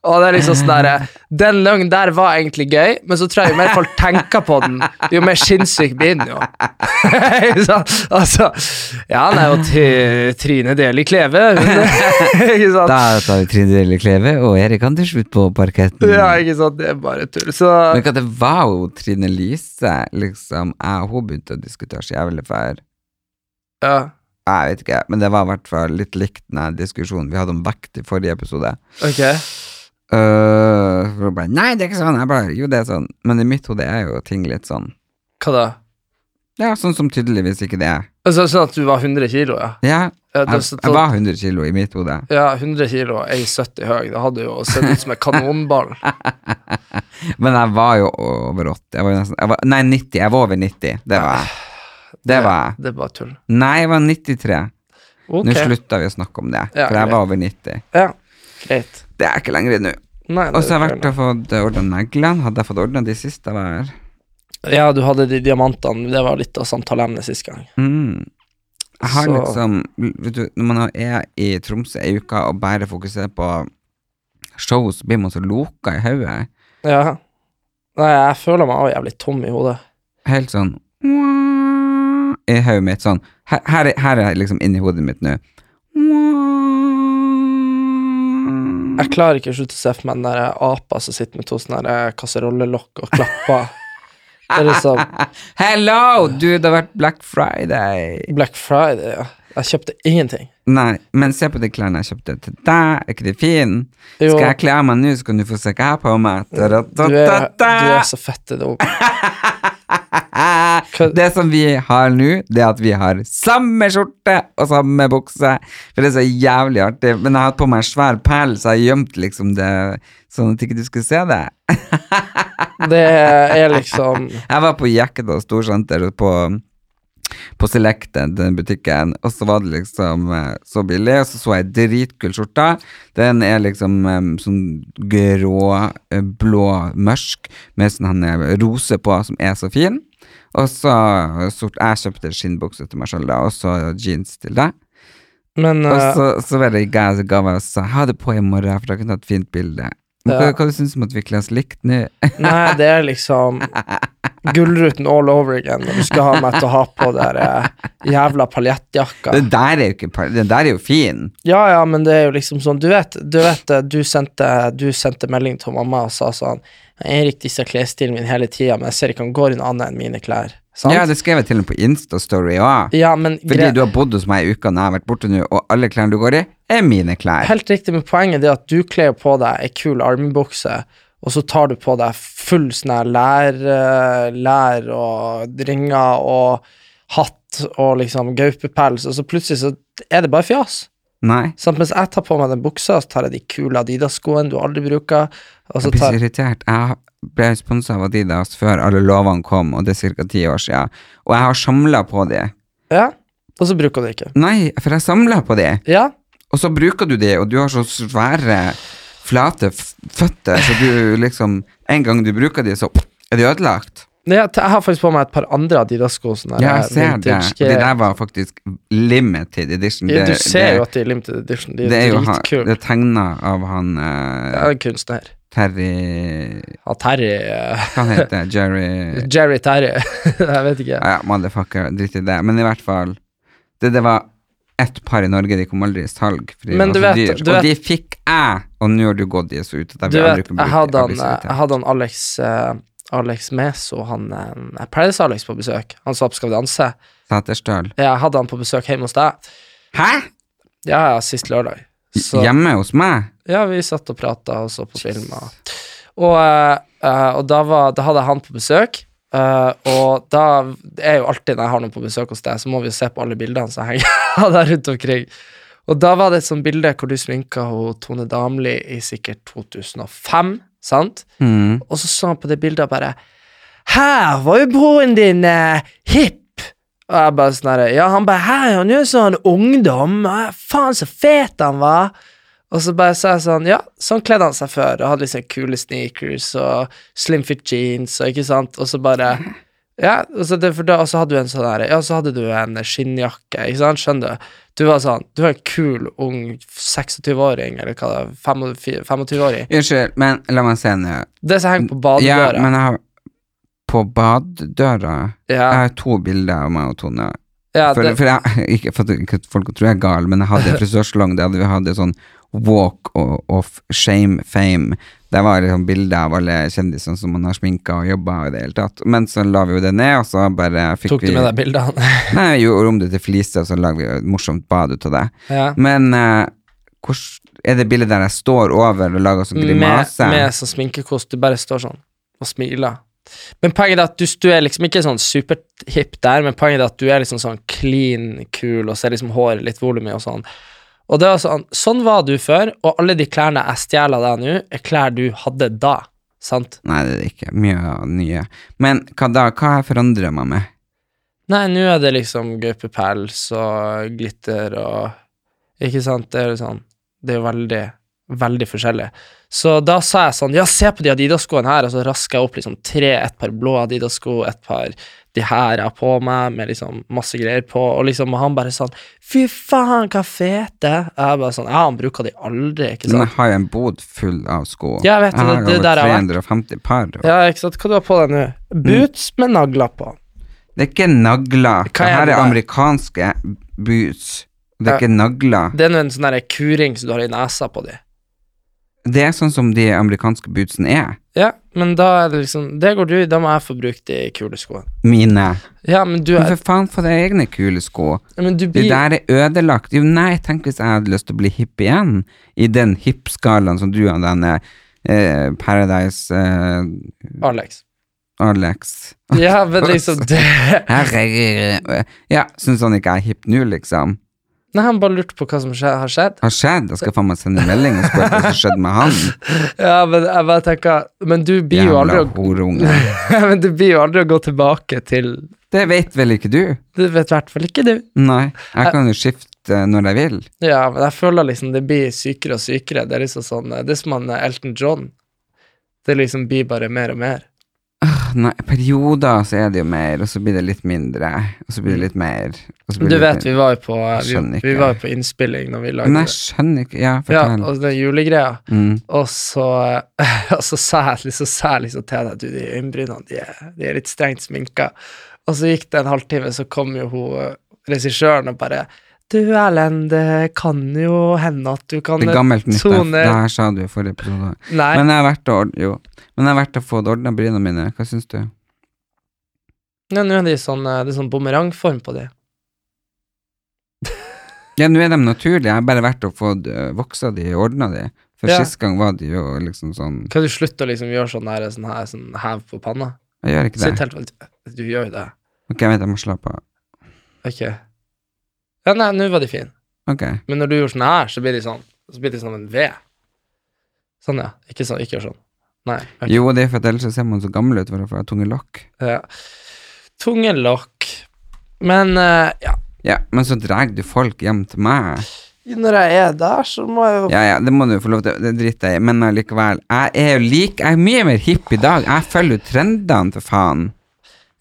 Og det er liksom sånn der, eh, Den løgnen der var egentlig gøy, men så tror jeg jo mer folk tenker på den, jo mer sinnssyk blir den jo. <laughs> Ikke sant? altså, ja, han er jo T- Trine Deli Kleve. Hun, <laughs> ikke sant? Da tar vi Trine Delle Kleve og Erik Andersen ut på parketten. Ja, ikke sant, det er bare tull. Så Men hva det var jo Trine Lise, liksom, jeg og hun begynte å diskutere så jævlig for ja. Jeg vet ikke, men det var i hvert fall litt likt den her diskusjonen vi hadde om vekt i forrige episode. Ok. Øh, for hun bare, Nei, det er ikke sånn. Jeg bare, jo, det er sånn. Men i mitt hode er jo ting litt sånn. Hva da? Ja, sånn som tydeligvis ikke det er. Altså, sånn at du var 100 kilo, ja. Ja, Ja, det, jeg, så, jeg var 100 kilo i mitt hode. ja, 100 kilo, 1,70 høy. Det hadde jo sett ut som en kanonball. Men jeg var jo over 80. Jeg var jo nesten, jeg var, nei, 90. Jeg var over 90. Det var jeg. <laughs> Det var jeg. Det er bare tull. Nei, jeg var 93. Ok. Nå slutta vi å snakke om det, Ja, for jeg greit. var over 90. Ja, greit. Det er ikke lenger nå. Nei, det Og så har jeg er vært og fått ordna neglene. Hadde jeg fått ordna de siste jeg var her? feil. Ja, du hadde de diamantene. Det var litt av samtaleemnet sist gang. Mm. Jeg har Så- liksom vet du, Når man er i Tromsø ei uke og bare fokuserer på show, så blir man så loka i hodet. Ja. Nei, jeg føler meg også jævlig tom i hodet. Helt sånn I hodet mitt sånn her, her, er- her er liksom inni hodet mitt nå. Jeg klarer ikke å slutte å se for meg den der apa som sitter med to sånne der kasserollelokk og <laughs> klapper. Det er liksom <laughs> Hello! Du, det har vært Black Friday. Black Friday, ja. Jeg kjøpte ingenting. Nei, men se på de klærne jeg kjøpte til deg. Er ikke de fine? Jo. Skal jeg kle av meg nå, så kan du få se hva jeg har på meg. Da, da, Du da, da, er, du da. er så fett <laughs> i det hodet. Kødd. Det som vi har nå, det er at vi har samme skjorte og samme bukse. For det er så jævlig artig. Men jeg har hatt på meg en svær perle, så jeg har gjemt liksom det sånn at ikke du skulle se det. Det er liksom Jeg var på Jekkedal Storsenter på, på Selected, den butikken, og så var det liksom eh, så billig, og så så jeg dritkul skjorte. Den er liksom eh, sånn grå, eh, blå, mørk, med sånn han eh, rose på, som er så fin. Og så sort, jeg kjøpte skinnbukse til meg sjøl, da, og så jeans til deg. Men Og eh, så, så var det en guy som ga meg og sa ha det på i morgen, for da kan du ha et fint bilde. Men Hva, Ja. hva du syns om at vi kler oss likt nå? Nei, det er liksom Gullruten all over again når du skal ha meg til å ha på der eh, jævla paljettjakka. Den der er jo ikke par- Den der er jo fin. Ja, ja, men det er jo liksom sånn Du vet, du, vet, eh, du, sendte, du sendte melding til mamma og sa sånn Erik disse klesstilen min hele tida, men jeg ser ikke han går i noe annet enn mine klær. Sant? Ja, det skrev jeg til og med på Insta-story òg. Ja, men Fordi gre- du har bodd hos meg i uka når jeg har vært borte nå, og alle klærne du går i, er mine klær. Helt riktig, men poenget er det at du kler på deg ei kul armbukse, og så tar du på deg full sånn her lær, eh, lær og ringer og hatt og liksom gaupepels, og så plutselig så er det bare fjas. Nei. Sant? mens jeg tar på meg den buksa, så tar jeg de kule Adidas-skoene du aldri bruker, og så Jeg blir så tar irritert. Jeg ble sponsa av Adidas før alle lovene kom, og det er ca. ti år siden. Og jeg har samla på de. Ja, og så bruker du det ikke. Nei, for jeg samla på de, Ja, og så bruker du de, og du har så svære, flate f- føtter, så du <laughs> liksom En gang du bruker de, så er de ødelagt. Nei, jeg jeg har faktisk på meg et par andre Adidas-sko. sånne Ja, her jeg ser det. vintage- De der var faktisk limited edition. Ja, du Det- ser det- jo at de er limited edition. De Det er er jo han, det dritkule. er tegna av han Det eh, er en kunstner. Terry Ja, Terry eh, Hva han <laughs> heter Jerry Jerry Terry. <laughs> jeg vet ikke. Ja, motherfucker, drit i det. Men i hvert fall Det, det var ett par i Norge, de kom aldri i salg, fordi Men de du var så vet- dyr. du Og de vet- fikk jeg, og nå har du gått de så ut at jeg Du vil aldri vet, kunne bruke jeg hadde de. Jeg han, blir så jeg irritert. hadde han Alex eh, Alex Meso, han eh, Paradise-Alex på besøk. Han sa på Skal vi danse. Sæterstøl. Jeg hadde han på besøk hjemme hos deg. Hæ?! Ja, ja, sist lørdag. Så Hjemme hos meg? ja, vi satt og prata og så på film. Og, og, eh, eh, og da, var, da hadde jeg han på besøk. eh, og da er jo alltid når jeg har noen på besøk hos deg, så må vi jo se på alle bildene som henger <laughs> der rundt omkring. Og da var det et sånt bilde hvor du sminka hun Tone Damli i sikkert 2005, sant? Mm. Og så så han på det bildet og bare Her var jo broren din eh, hipp! Og jeg bare sånn herre Ja, han bare Her er han jo sånn ungdom! eh, Faen, så fet han var! Og så bare sa jeg sånn Ja, sånn kledde han seg før, og hadde liksom kule sneakers og slim fit jeans og ikke sant, og så bare ja, og så, det, for da, og så hadde du en sånn der, ja, så hadde du en skinnjakke, ikke sant, skjønner du? Du var sånn Du var en kul, ung 26-åring, eller hva det er, 25 25-åring. Unnskyld, men la meg se ned. Det som henger på Ja, badedøra. men jeg har På badedøra Ja, Jeg har to bilder av meg og Tone. ja, for, det, for jeg, ikke for at ikke at folk tror jeg er gal, men jeg <laughs> hadde frisørsalong der vi hadde sånn walk o- of shame fame. Der var liksom bilder av alle kjendisene som man har sminka og jobba i det hele tatt. Men så la vi jo det ned, og så bare fikk tok du vi med deg bildene? Nei, jeg gjorde om det til flise, og så lagde vi et morsomt bad ut av det. ja. Men eh, hvordan er det bildet der jeg står over og lager sånn med, grimase? med sånn sminkekost. Du bare står sånn og smiler. Men poenget er at du, du er liksom ikke sånn superhip der, men poenget er at du er liksom sånn clean, kul, og så er liksom håret litt volumig og sånn. Og det var sånn, sånn var du før, og alle de klærne jeg stjeler av deg nå, er klær du hadde da. Sant? Nei, det er det ikke. Mye av det nye. Men hva da? Hva har jeg forandra meg med? Nei, nå er det liksom gaupepels og glitter og Ikke sant? Det er jo sånn Det er jo veldig, veldig forskjellig. Så da sa jeg sånn Ja, se på de Adidas-skoene her, og så rasker jeg opp liksom tre, et par blå Adidas-sko, et par de her jeg har på meg, med liksom masse greier på, og liksom og han bare sånn Fy faen, hva fete! Jeg bare sånn Ja, han bruker de aldri, ikke Men sant? jeg har jo en bod full av sko. Ja, jeg vet det, har det- det over der jeg har vært. 350 par. og- Ja, ikke sant? Hva du har på deg nå? Boots med nagler på. Det er ikke nagler. Hva Det er her det er der? amerikanske boots. Det er Ja. ikke nagler. Det er nå en sånn der kuring som du har i nesa på de. Det er sånn som de amerikanske bootsene er. Ja, men da er det liksom Det går du i, da må jeg få brukt de kule skoene. Mine. Ja, men du Men <laughs> er for faen, få deg egne kule sko. Men du Det blir der er ødelagt. Jo, nei, tenk hvis jeg hadde lyst til å bli hipp igjen, i den hipp-skalaen som du og denne eh, Paradise eh, Alex. Alex Ja, men <laughs> liksom det Herregud. Ja, syns han ikke jeg er hipp nå, liksom? Nei, han bare lurte på hva som skje- har skjedd. Har skjedd? Jeg skal faen meg sende melding og spørre hva som skjedde med <laughs> han. Ja, men jeg bare tenker Men du blir jo aldri Jævla å horunge. <laughs> Men du blir jo aldri å gå tilbake til Det vet vel ikke du? Det vet i hvert fall ikke du. Nei, jeg kan jo skifte når jeg vil. Ja, men jeg føler liksom det blir sykere og sykere. Det er liksom sånn eh, Det er som han eh, Elton John. Det liksom blir bare mer og mer. Nei, perioder så er det jo mer, og så blir det litt mindre, og så blir det litt mer. Og så blir Du det litt vet, vi var jo på, eh, Skjønner vi, ikke. vi var jo på innspilling når vi Nei, lagde jeg skjønner ikke. Ja, Ja, fortell. og den julegreia. Mm. Og så, <laughs> og så sa jeg liksom, sa jeg liksom til deg Du, de øyenbrynene de er, de er litt strengt sminka. Og så gikk det en halvtime, så kom jo hun eh, regissøren og bare Du, Erlend, det kan jo hende at du kan Det er gammelt nytt, det tone det her sa du i forrige episode. Nei, Men jeg har vært å ord- jo. Men jeg har vært å få ordna bryna mine. Hva syns du? nå nå er de sånn, eh, det er sånn bumerangform på de. Ja, nå er de naturlige. Jeg har bare vært og fått øh, voksa de og ordna de. For Ja. sist gang var de jo liksom sånn Kan du slutte å liksom gjøre sånn her, sånn her sånn hev på panna? Jeg gjør ikke Så det. helt, du, du gjør jo det. Ok, jeg vet jeg må slappe av. Ok. Ja, nei, nå var de fine. Ok. Men når du gjør sånn her, så blir de sånn Så blir de som en V. Sånn, ja. Ikke, sånn, ikke gjør sånn. Nei. ok. Jo, det er for at ellers så ser man så gammel ut for å få tunge lokk. Ja. Tungelokk. Men eh, ja, Ja, men så drar du folk hjem til meg. når jeg er der, så må jeg jo Ja, ja, det må du få lov til, det driter jeg i, men allikevel. Jeg er jo lik, jeg er mye mer hipp i dag. Jeg følger jo trendene, for faen.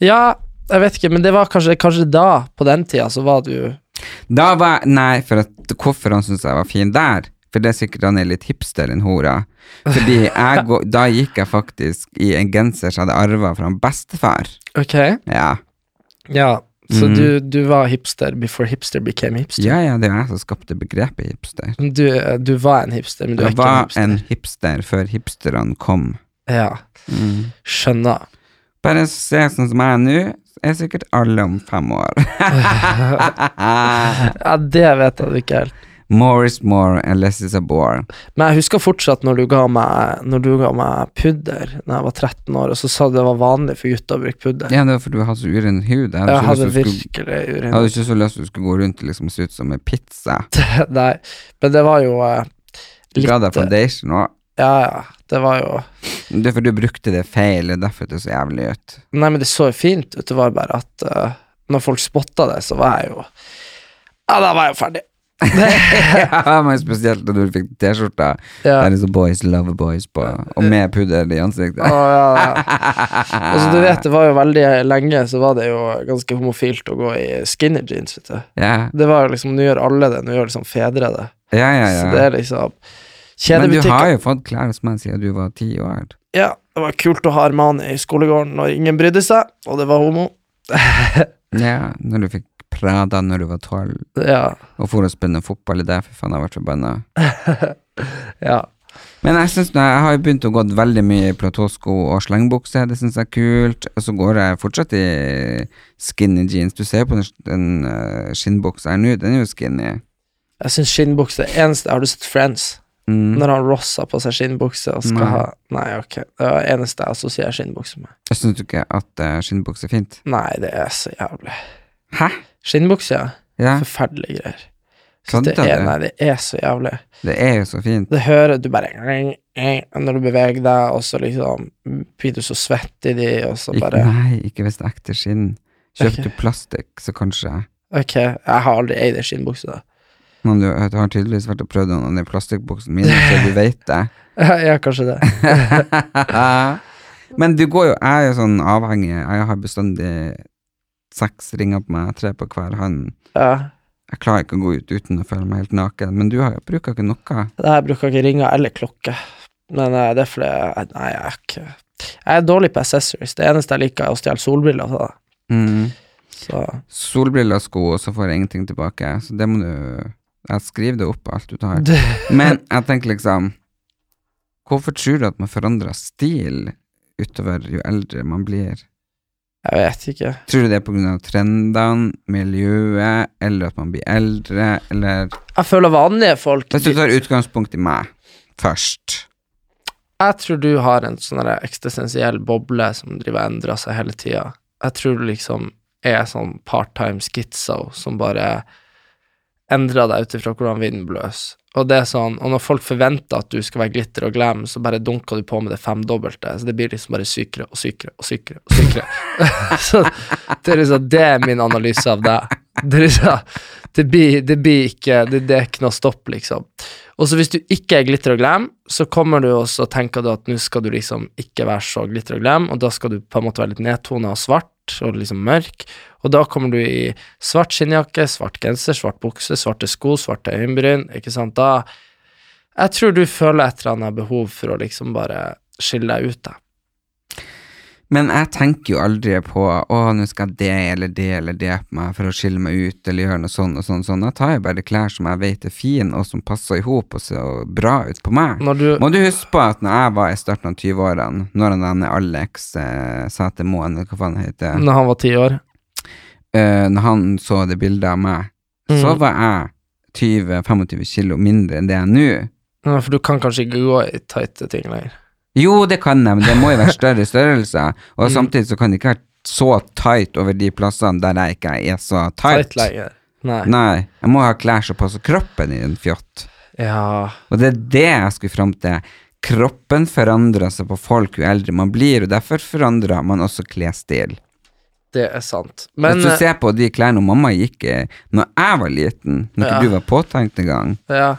Ja, jeg vet ikke, men det var kanskje, kanskje da, på den tida, så var du Da var Nei, for at, hvorfor han syntes jeg var fin der? For det er sikkert han er litt hipster enn hora. Fordi jeg gå, da gikk jeg faktisk i en genser som jeg hadde arva fra en bestefar. Ok. Ja. Ja, så Mhm. du, du var hipster before hipster became hipster. ja, ja, det er jo jeg som skapte begrepet hipster. Du, eh, du var en hipster, men du er Jeg ikke en var hipster. en hipster før hipsterne kom. Ja, Mhm. skjønner. Bare se sånn som jeg er nå, er sikkert alle om fem år. <laughs> Ja, det vet jeg ikke helt. More is more and less is a bore. Men jeg husker fortsatt når du ga meg, når du ga meg pudder da jeg var 13 år, og så sa du det var vanlig for gutter å bruke pudder. Ja, det var fordi du hadde så uren hud. Jeg jeg hadde, hadde ikke lyst til å skulle- virkelig jeg urin. hadde ikke så lyst til å skulle gå rundt og liksom se ut som en pizza. <laughs> Nei, men det var jo eh, Du ga deg litt eh, foundation òg. Ja, ja. Det var jo Det er fordi du brukte det feil, det er derfor det er så jævlig ut. <laughs> Nei, men det så jo fint ut. Det var bare at eh, når folk spotta det, så var jeg jo Ja, da var jeg jo ferdig. ja, men spesielt da du fikk T-skjorta. Det Ja. er liksom boys love boys på, og med pudder i ansiktet. Å, ja, <laughs> ja. Altså, du vet, det var jo veldig lenge så var det jo ganske homofilt å gå i skinny jeans. Vet du. Ja, Det var jo liksom, Nå gjør alle det, nå gjør liksom fedre det. ja, ja. Så det ja. er liksom Men du har Kjedebutikker jo fått klær som jeg siden du var ti år. Ja, det var kult å ha Armani i skolegården når ingen brydde seg, og det var homo. Ja, når du fikk Prada når du var tolv, Ja, og for å spille fotball i det, for faen, jeg har vært forbanna. ja. Men jeg synes, nå- jeg har jo begynt å gå veldig mye i platåsko og slengbukse, det synes jeg er kult. Og så går jeg fortsatt i skinny jeans. Du ser jo på den, den eh, skinnbuksa her nå, den er jo skinny. Jeg syns skinnbukse er eneste Har du sett Friends? Mm. Når han Ross har på seg skinnbukse og skal Nei. ha Nei, ok. Det er det eneste jeg assosierer skinnbukse med. Jeg synes du ikke at eh, skinnbukse er fint? Nei, det er så jævlig. Hæ? Skinnbukse, ja. Ja, Forferdelige greier. Så Kødder det er, du? nei, det er så jævlig. det er jo så fint. Det hører du bare når du beveger deg, og så liksom blir du så svett i de, og så Ik bare nei, ikke hvis det er ekte skinn. Kjøper <laughs> Ok. du plastikk, så kanskje. Ok, jeg har aldri eid ei skinnbukse, da. Men du, du har tydeligvis vært og prøvd noen av de plastikkbuksene mine, så du vet det. <laughs> ja, kanskje det. <laughs> Men du går jo, jeg er jo sånn avhengig Jeg har bestandig seks ringer på meg, tre på hver hånd. Ja. Jeg klarer ikke å gå ut uten å føle meg helt naken, men du har jo bruker ikke noe. Nei, Jeg bruker ikke ringer eller klokke, men eh, det er fordi jeg- Nei, jeg er ikke Jeg er dårlig på accessories. Det eneste jeg liker, er å stjele solbriller fra deg. Så Solbriller og sko, og så får jeg ingenting tilbake, så det må du Jeg skriver det opp, alt du <laughs> tar. Det- Men jeg tenker liksom Hvorfor tror du at man forandrer stil utover jo eldre man blir? Jeg vet ikke. Tror du det er pga. trendene, miljøet, eller at man blir eldre, eller Jeg føler vanlige folk Hvis du tar utgangspunkt i meg først Jeg tror du har en sånn der eksistensiell boble som driver og endrer seg hele tida. Jeg tror du liksom er sånn part-time schizo som bare endrer deg ut ifra hvordan vinden blåser. Og det er sånn, og når folk forventer at du skal være glitter og glam, så bare dunker du på med det femdobbelte. Så det blir liksom bare sykere og sykere og sykere og sykere. <laughs> så det er liksom, det er min analyse av deg. Det, er liksom, det, blir, det blir ikke det, det er ikke noe stopp, liksom. Og så hvis du ikke er glitter og glam, så kommer du og så tenker du at nå skal du liksom ikke være så glitter og glam, og da skal du på en måte være litt nedtona og svart og liksom mørk, og da kommer du i svart skinnjakke, svart genser, svart bukse, svarte sko, svarte øyenbryn, ikke sant, da Jeg tror du føler et eller annet behov for å liksom bare skille deg ut, da. Men jeg tenker jo aldri på å, nå skal jeg det eller det eller det på meg for å skille meg ut, eller gjøre noe sånn og sånn. og sånn. Da tar jeg bare klær som jeg vet er fine, og som passer i hop og ser bra ut på meg. Når du Må du huske på at når jeg var i starten av 20-årene, når han denne Alex eh, Sætermoen, eller hva faen han heter, Når han var ti år. eh, når han så det bildet av meg, så Mm. var jeg 20-25 kilo mindre enn det jeg er nå. Ja, For du kan kanskje ikke gå i tighte ting lenger. Jo, det kan jeg, men det må jo være større størrelse. Og Mm. samtidig så kan det ikke være så tight over de plassene der jeg ikke er så tight. Tight lenger. Nei. Nei, jeg må ha klær som passer kroppen i en fjott. Ja. Og det er det jeg skulle fram til. Kroppen forandrer seg på folk jo eldre man blir, og derfor forandrer man også klesstil. Det er sant. Men eh, Hvis du ser på de klærne mamma gikk i når jeg var liten, når ikke Ja. du var påtenkt engang, eh, ja.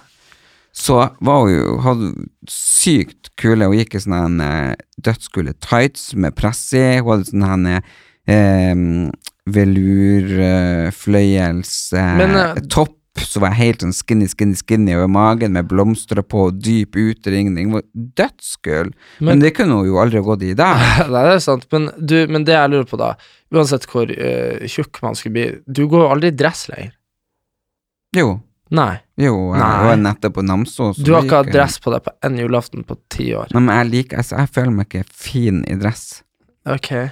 så var hun jo hadde sykt kule. Hun gikk i sånne her, eh, dødskule tights med press i. Hun hadde sånne her, eh, velur, eh, fløyels, eh, Men, eh, topp. Så var jeg helt sånn skinny, skinny, skinny over magen med blomster på og dyp utringning. Hun var Dødskul! Men, Men- det kunne hun jo aldri ha gått i da. Nei, det er sant, men, du, men det jeg lurer på da, uansett hvor eh, tjukk man skulle bli, du går jo aldri i dress lenger. Jo. Nei, Jo, jeg Nei. var nettopp på Namsos. du har så ikke hatt gikk eh, jeg- dress på deg på en julaften på ti år. Nei, men jeg liker, altså, jeg føler meg ikke fin i dress. Ok. Det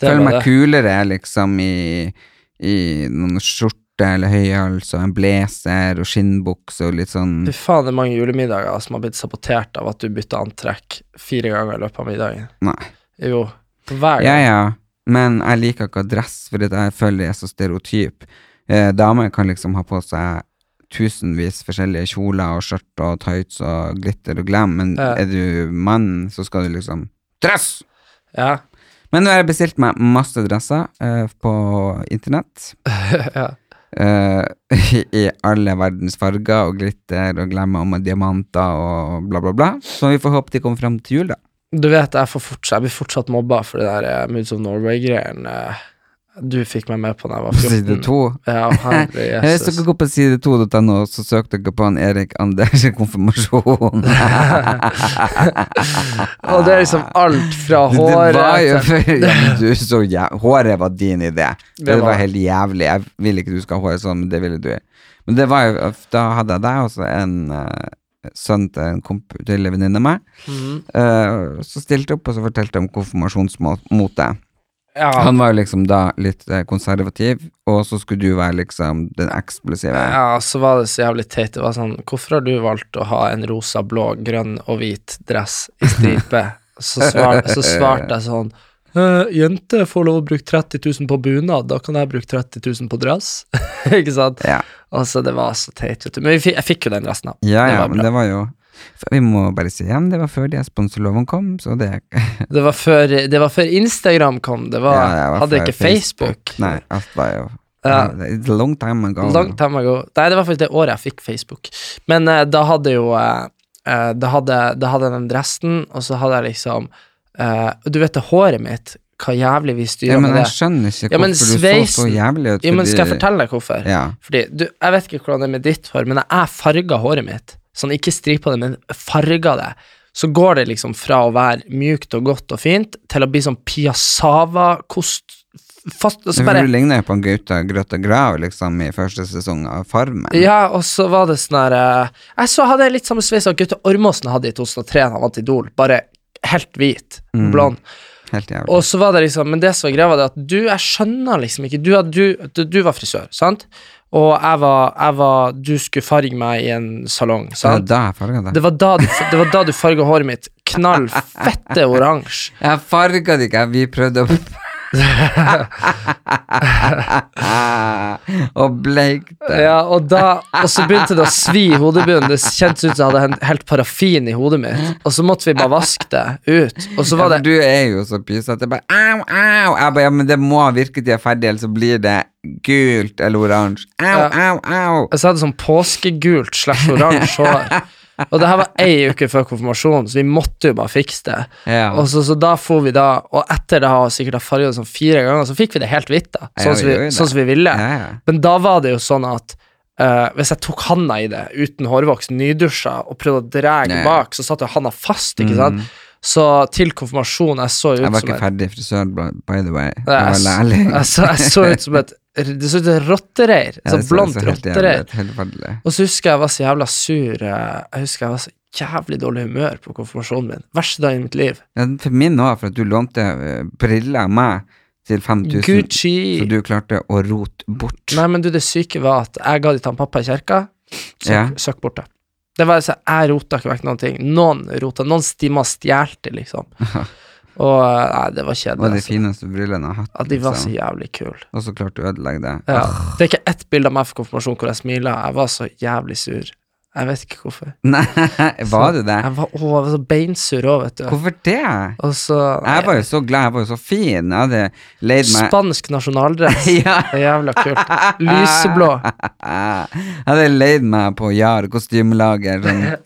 Føler var meg det. kulere liksom i, i noen skjorte eller høyhals og en blazer og skinnbukse og litt sånn Fy faen, det er mange julemiddager som har blitt sabotert av at du bytta antrekk fire ganger i løpet av middagen. Nei. Jo, hver Ja, gang. ja. Men jeg liker ikke å ha dress, fordi jeg føler jeg er så stereotyp. Eh, damer kan liksom ha på seg tusenvis forskjellige kjoler og skjørt og tights og glitter og glam, men Ja. er du mann, så skal du liksom Dress! Ja, Men nå har jeg bestilt meg masse dresser eh, på internett. ja. <laughs> eh, <laughs> i alle verdens farger og glitter og glemmer om diamanter og bla, bla, bla. Så vi får håpe de kommer fram til jul, da. Du vet, jeg, får fortsatt, jeg blir fortsatt mobba for det der eh, Moods of Norway-greien eh, du fikk meg med på da jeg var På side 14. to. Ja, Mm. <laughs> herre Hvis Jesus. dere går på side2.no, så søk dere på han Erik Anders konfirmasjon. Og det er liksom alt fra det håret var jo <laughs> før til- ja, <laughs> men du så jæv... Håret var din idé. Det, Det var... var- helt jævlig. Jeg ville ikke du skal ha håret sånn, men det ville du. Men det var jo Da hadde jeg deg og så en eh, sønn til en, komp til en venninne av meg. Mhm. Eh, så stilte jeg opp og så fortalte jeg om konfirmasjonsmotet. ja, Han var jo liksom da litt eh, konservativ, og så skulle du være liksom den eksplosive. ja, så var det så jævlig teit. Det var sånn Hvorfor har du valgt å ha en rosa, blå, grønn og hvit dress i stripe? Så, svar, så svarte jeg sånn «Eh, Jenter får lov å bruke 30 000 på bunad, da kan jeg bruke 30 000 på dress. <laughs> Ikke sant? Ja. Altså, det var så teit, vet du. Men vi fikk, jeg fikk jo den dressen, da. Ja, det ja, var men det var jo Vi må bare si igjen, det var før de sponsorloven kom, så det Det var før, det var før Instagram kom. Det var, Ja, ja, det var hadde før ikke Facebook. Nei, alt var jo Ja. It's a long time ago. Long time ago. Nei, det var faktisk det året jeg fikk Facebook. Men eh, da hadde jo eh, eh, da, hadde, da hadde jeg den dressen, og så hadde jeg liksom eh, og Du vet det håret mitt, hva jævlig vi styrer ja, men med jeg det. skjønner ikke Ja, men hvorfor du så så sveisen- jævlig ut. Jo, men skal jeg fordi- fortelle deg hvorfor? Ja. Fordi, du, Jeg vet ikke hvordan det er med ditt hår, men jeg farga håret mitt. Sånn, ikke stripa det, men farga det. Så går det liksom fra å være mjukt og godt og fint, til å bli sånn piassava-kost fast, og så For bare, Du ligner jo på en Gauta Grøtta Grav liksom, i første sesong av Farmen. Ja, og så var det sånn her eh, Jeg så hadde jeg litt samme sveis som Gaute Ormåsen hadde i 2003 da han vant Idol. Bare helt hvit. Mm. Blond. Helt jævlig. Og så var det liksom Men det som var greia, var det at du Jeg skjønner liksom ikke Du, hadde- du, du, du var frisør, sant? Og jeg var, jeg var Du skulle farge meg i en salong, det var sant? da jeg farga deg. Det var da du, det var da du farga håret mitt knall fette oransje. Jeg farga det ikke, vi prøvde <laughs> å <laughs> Og bleik <laughs> det. Ja, og, da, og så begynte det å svi i hodebunnen. Det kjentes ut som jeg hadde hent- helt parafin i hodet mitt. Og så måtte vi bare vaske det ut. Og så Ja, var det for du er jo så pysete. Bare au, au. Jeg bare, ja, men det må virke til jeg er ferdig, ellers så blir det gult eller oransje. Au, Ja. au, au. Så jeg hadde sånn påskegult slash oransje hår. Og det her var ei uke før konfirmasjonen, så vi måtte jo bare fikse det. Ja. Og så, så da for vi da, og etter det har sikkert ha farget det sånn fire ganger, så fikk vi det helt hvitt, da. Ja, Sånn som vi vi, gjorde det. sånn som vi ville. Ja, ja. Men da var det jo sånn at eh, hvis jeg tok handa i det uten hårvoks, nydusja, og prøvde å dra Ja, ja. bak, så satt jo handa fast, ikke sant. Så til konfirmasjon Jeg så jo Jeg ut var som ikke en ferdig frisør, by- by the way. Det jeg, var lærlig. jeg, så, jeg så ut som et Det så ut som et rottereir. Ja, sånn det så- blondt så helt jævlig rottereir. ut, Helt forferdelig. Og så husker jeg jeg var så jævla sur eh, Jeg husker jeg var så jævlig dårlig humør på konfirmasjonen min. Verste dagen i mitt liv. Ja, for min òg, for at du lånte eh, briller av meg til 5000, Gucci. så du klarte å rote bort. Nei, men du, det syke var at jeg ga de til han pappa i kjerka. Søkk, Ja. søkk bort det. Det var så Jeg rota ikke vekk noen ting. Noen rota, noen stimma stjal det, liksom. Og eh, Nei, det det var var de kjedelig. altså. fineste brillene jeg har hatt. Ja, de var så liksom. Ah. jævlig kule. Og så klarte du å ødelegge det. Ja. Det er ikke ett bilde av meg for konfirmasjon hvor jeg smiler. Jeg var så jævlig sur. Jeg vet ikke hvorfor. <laughs> Nei, var du det? Jeg var, å, jeg var så beinsur òg, vet du. Hvorfor det? Og så Jeg var jo så glad, jeg var jo så fin. Jeg hadde leid meg Spansk nasjonaldress. <laughs> Ja. Det er Jævla kult. Lyseblå. Jeg hadde leid meg på Jar kostymelager, <laughs> sånn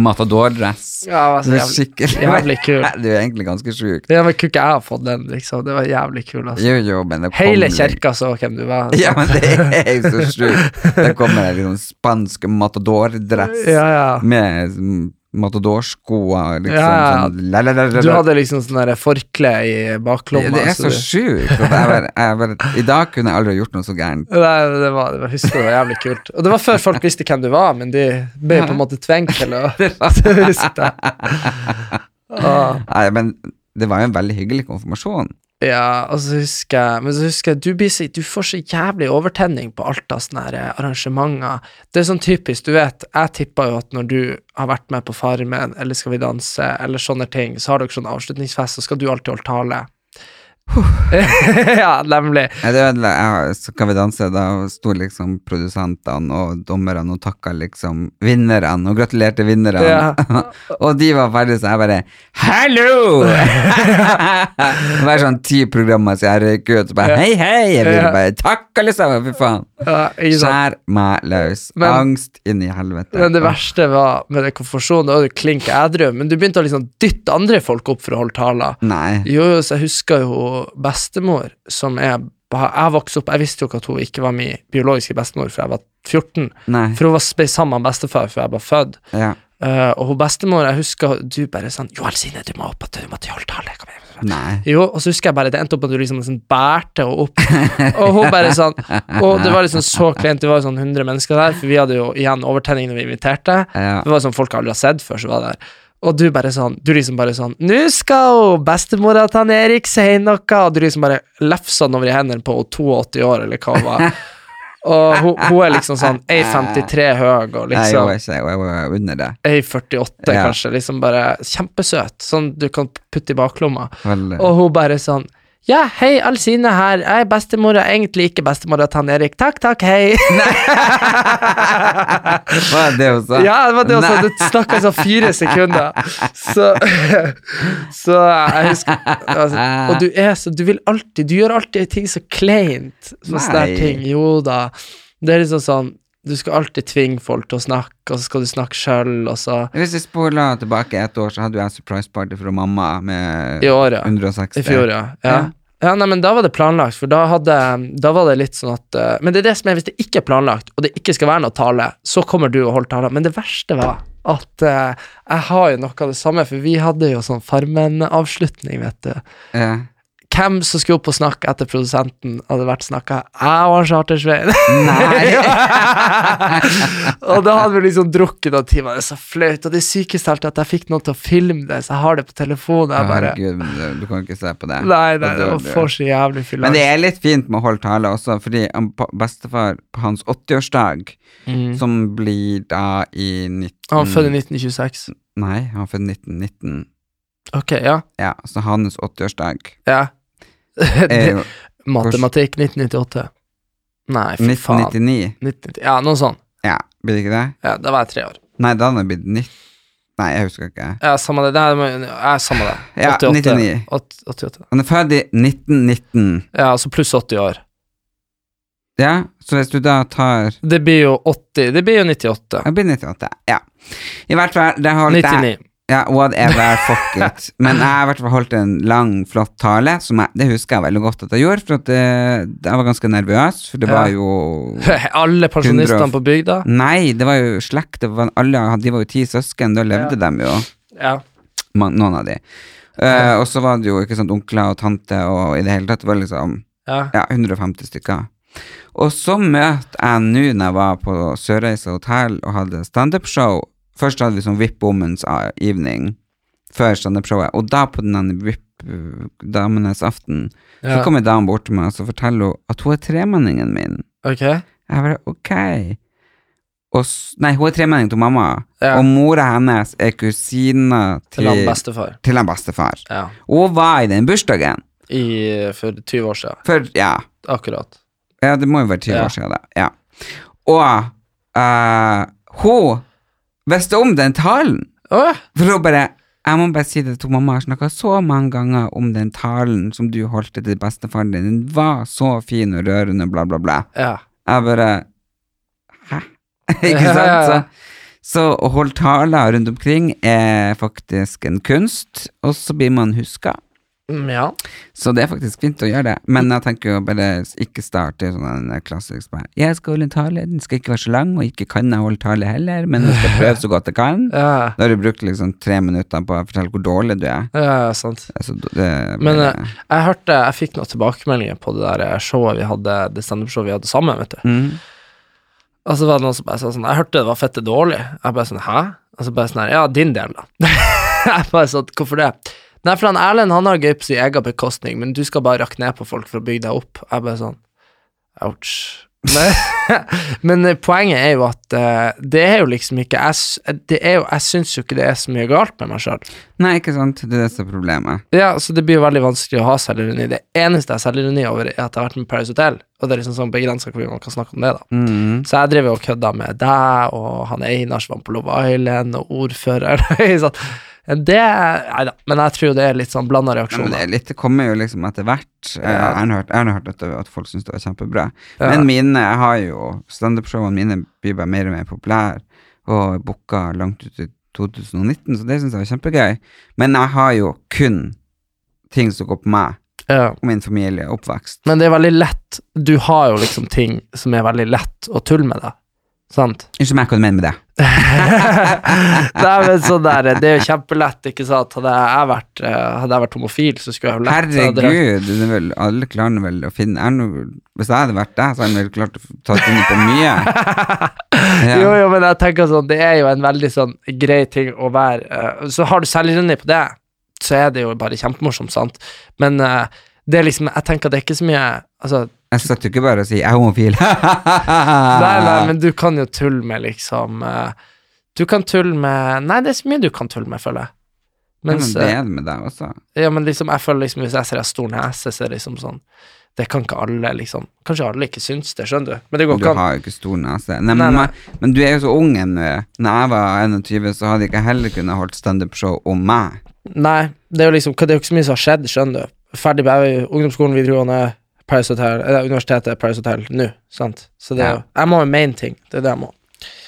matadordress. Ja, det var så Det er jævlig, skikkelig jævlig <laughs> kul. Det er jo egentlig ganske sjukt. Det var ikke jeg har fått den, liksom. Det var jævlig kul, altså. Jo, jo, men det kom Hele litt- kjerka så hvem du var. <laughs> Ja, men det er jo så sjukt. Det kommer en liksom spansk matadordress Ja, ja. med mm, matadorsko og liksom Ja, ja. sånn la, la, la, la, Du la. hadde liksom sånn der forkle i baklomma. Det er så så du- sjukt. at Jeg bare, jeg bare, I dag kunne jeg aldri ha gjort noe så gærent. Nei, det var, det var, jeg husker det var jævlig kult. Og det var før folk visste hvem du var, men de ble jo på en måte tvengt <laughs> til å <laughs> huske deg. Ah, Nei, men det var jo en veldig hyggelig konfirmasjon. Ja, og så husker jeg Men så husker jeg du, blir så, du får så jævlig overtenning på alt av sånne her, eh, arrangementer. Det er sånn typisk, du vet. Jeg tippa jo at når du har vært med på Farmen eller Skal vi danse eller sånne ting, så har dere sånn avslutningsfest, så skal du alltid holde tale. <laughs> ja, nemlig. Nei, det ødela jeg. Så kan vi danse. Da sto liksom produsentene og dommerne og takka liksom vinnerne og gratulerte vinnerne. Ja. <laughs> og de var ferdige, så jeg bare Hallo! <laughs> Det var sånn ti programmer så jeg røyk ut. Så bare hei, hei! Jeg ville Ja. bare takka, liksom. Fy faen. Ja, ikke sant? Skjær meg løs. Men- Angst inn i helvete. Men det verste var med den konfirmasjonen, da var du klink edru, men du begynte å liksom dytte andre folk opp for å holde taler. Nei. Jo, jo, så jeg husker jo bestemor, som er Jeg vokste opp, jeg visste jo ikke at hun ikke var min biologiske bestemor, for jeg var 14. Nei. For hun var sp- sammen med bestefar før jeg var født. Ja. Eh, og hun bestemor, jeg husker du bare sånn Jo, Elsine, du må opp, at du må til holde tale. Kom igjen. Nei. <laughs> Jo, og så husker jeg bare det endte opp at du liksom nesten bærte henne opp. Og hun bare sånn Og det var liksom så kleint, det var jo sånn 100 mennesker der, for vi hadde jo igjen overtenning når vi inviterte. Ja. Det var sånn folk aldri har sett før som var der. Og du bare sånn Du liksom bare sånn Nå skal jo bestemora til han Erik si noe, og du liksom bare lefsa den over i hendene på henne, 82 år, eller hva hun var. Og hun, hun er liksom sånn 1,53 høy, og Nei, jeg liksom var ikke jeg var under det. A48, Ja. kanskje. Liksom bare kjempesøt. Sånn du kan putte i baklomma. Veldig. Og hun bare sånn Ja, hei, Alsine her. Jeg er bestemora. Egentlig ikke bestemora til han Erik. Takk, takk, hei. Var det det hun sa? Ja, det var det også. Nei. Du snakka sånn fire sekunder. Så, <laughs> så jeg husker altså, Og du er så Du vil alltid Du gjør alltid ting så kleint. Sånne Nei. der ting. Jo da. Det er liksom sånn Du skal alltid tvinge folk til å snakke, og så skal du snakke sjøl, og så Hvis vi spoler tilbake et år, så hadde jo jeg surprise party fra mamma med I år, ja. 160. I fjor, ja. ja. Ja, nei, men Da var det planlagt, for da, hadde, da var det litt sånn at eh, Men det er det som er, hvis det ikke er planlagt, og det ikke skal være noe tale, så kommer du og holder tale. Men det verste var at eh, jeg har jo noe av det samme, for vi hadde jo sånn Farmen-avslutning, vet du. Ja. Hvem som skulle opp og snakke etter produsenten, hadde vært snakka Jeg og han Charter-Svein. <laughs> og da hadde vi liksom drukket noen timer, det er så flaut. Og det sykeste av alt er at jeg fikk noen til å filme det, så jeg har det på telefonen. Jeg bare, Herregud, men du- du kan ikke se på det. Da Nei, nei, det dør var du. for så jævlig fylla. Men det er litt fint med å holde tale også, fordi han pa- bestefar på hans 80-årsdag, Mm. som blir da i 19... Han var født i 1926. Nei, han var født i 1919. Ok, ja. Ja, så hans 80-årsdag ja. <laughs> er Eh, jo Matematikk 1998. Nei, fy faen. 1999. 1990. Ja, noe sånn. Ja, blir det ikke det? Ja, da var jeg tre år. Nei, da hadde han blitt 90... Nei, jeg husker ikke. Ja, samme det. Nei, men- ja, samme det. Ja, 99. 88. 88. Han er født i 1919. Ja, altså pluss 80 år. Ja, så hvis du da tar Det blir jo 80 Det blir jo 98. Jeg blir 98, ja. I hvert fall, det holdt jeg 99. ja, Whatever, fuck it. Men jeg har i hvert fall holdt en lang, flott tale. Som jeg, det husker jeg veldig godt at jeg gjorde, for at det, jeg var ganske nervøs. For det var Ja. jo <laughs> Alle pensjonistene på bygda? Nei, det var jo slekt. Det var, alle, de var jo ti søsken, da levde dem jo, Ja. man- noen av de. Eh, og så var det jo ikke sant, onkler og tante og i det hele tatt. Det var liksom ja. ja, 150 stykker. Og så møtte jeg nå når jeg var på Sørreisa hotell og hadde standup-show. Først hadde vi sånn VIP Women's Evening før standup-showet, og da på den ene VIP Damenes aften, så Ja. kommer damen bort til meg og så forteller hun at hun er tremenningen min. Ok. Jeg bare ok. Og, s- nei, hun er tremenning til mamma, Ja. og mora hennes er kusina til, Til han bestefar. til han bestefar. Ja. Hun var i den bursdagen, I, for 20 år siden. for ja. Akkurat. Ja, det må jo være 20 Ja. år siden, da. Ja. Og eh, hun visste om den talen, Åh, for hun bare jeg må bare si det til mamma, jeg har snakka så mange ganger om den talen som du holdt til bestefaren din, den var så fin og rørende, bla, bla, bla. ja. Jeg bare Hæ? <laughs> Ikke Ja, ja, ja. sant? Så, så å holde taler rundt omkring er faktisk en kunst, og så blir man huska. Mm, ja. Så det er faktisk fint å gjøre det, Mm. men jeg tenker jo bare ikke starte sånn en klassisk bare, Jeg skal holde en tale, den skal ikke være så lang, og ikke kan jeg holde tale heller, men jeg skal prøve så godt jeg kan. <laughs> Ja, Da har du brukt liksom tre minutter på å fortelle hvor dårlig du er. ja, sant. Altså, det, Men eh, jeg hørte, jeg fikk noen tilbakemeldinger på det der eh, showet vi hadde, det standup-showet vi hadde sammen, vet du. mm, Og så var det noen som bare sa sånn, jeg hørte det var fette dårlig. Jeg bare sånn, hæ? Og så bare sånn her, ja, din del da. <laughs> jeg bare sånn, hvorfor det? Nei, for han Erlend, han har gøy på sin egen bekostning, men du skal bare rakke ned på folk for å bygge deg opp. Jeg bare sånn, ouch. Men, <laughs> men eh, poenget er jo at eh, det er jo liksom ikke, jeg, s- det er jo, jeg synes jo ikke det er så mye galt med meg selv. Nei, ikke sant, det er det som er problemet. Ja, så det blir jo veldig vanskelig å ha selvironi. Det eneste jeg har selvironi over, er at jeg har vært med Paris Hotel, og det er liksom sånn begrensa hvor mye man kan snakke om det, da. Mm. Så jeg driver jo og kødder med deg og han Einar som var på Love Island, og ordføreren <laughs> ikke sant? Det Nei da, men jeg tror det er litt sånn blanda Nei, men det, er reaksjoner. litt, det kommer jo liksom etter hvert. Eh, Jeg har hørt, jeg har hørt at, at folk syns det var kjempebra. Ja. Men mine jeg har jo standup-showene mine blir bare mer og mer populære, og booka langt ut i 2019, så det syns jeg var kjempegøy. Men jeg har jo kun ting som går på meg, Ja. og min familie, og oppvekst. Men det er veldig lett Du har jo liksom ting som er veldig lett å tulle med, da. Sant? <laughs> Unnskyld meg, hva du mener med det? Nei, men sånn der, det er jo kjempelett, ikke sant. Hadde jeg vært, eh, hadde jeg vært homofil, så skulle jeg jo lett hadde jeg- Herregud, det er vel, alle klarer vel å finne er noe, Hvis jeg hadde vært deg, så hadde jeg vel klart å ta finne på mye. <laughs> Ja. Jo, jo, men jeg tenker sånn, det er jo en veldig sånn grei ting å være eh, Så har du selvironi på det, så er det jo bare kjempemorsomt, sant. Men eh, det er liksom Jeg tenker det er ikke så mye Altså, Jeg satt jo ikke bare og sier 'jeg er homofil'. Nei, nei, men du kan jo tulle med liksom eh, Du kan tulle med Nei, det er så mye du kan tulle med, føler jeg. Ja, Mens, men det er det med deg også. eh, ja, men liksom, jeg føler liksom hvis jeg ser en stor nese, så er det liksom sånn Det kan ikke alle, liksom. Kanskje alle ikke syns det, skjønner du. Men det går Du ikke an. har jo ikke stor nese. Nei, Nei, men, nei. men du er jo så ung ennå. Når jeg var 21, så hadde jeg ikke heller kunnet holdt standup-show om meg. Nei, det er jo liksom Det er jo ikke så mye som har skjedd, skjønner du. Ferdig på jeg er jo ungdomsskolen, videregående, Paris Hotel, eh, universitetet, Paris Hotel, nå, sant. Så det er Ja. jo Jeg må jo mene ting. Det er det jeg må.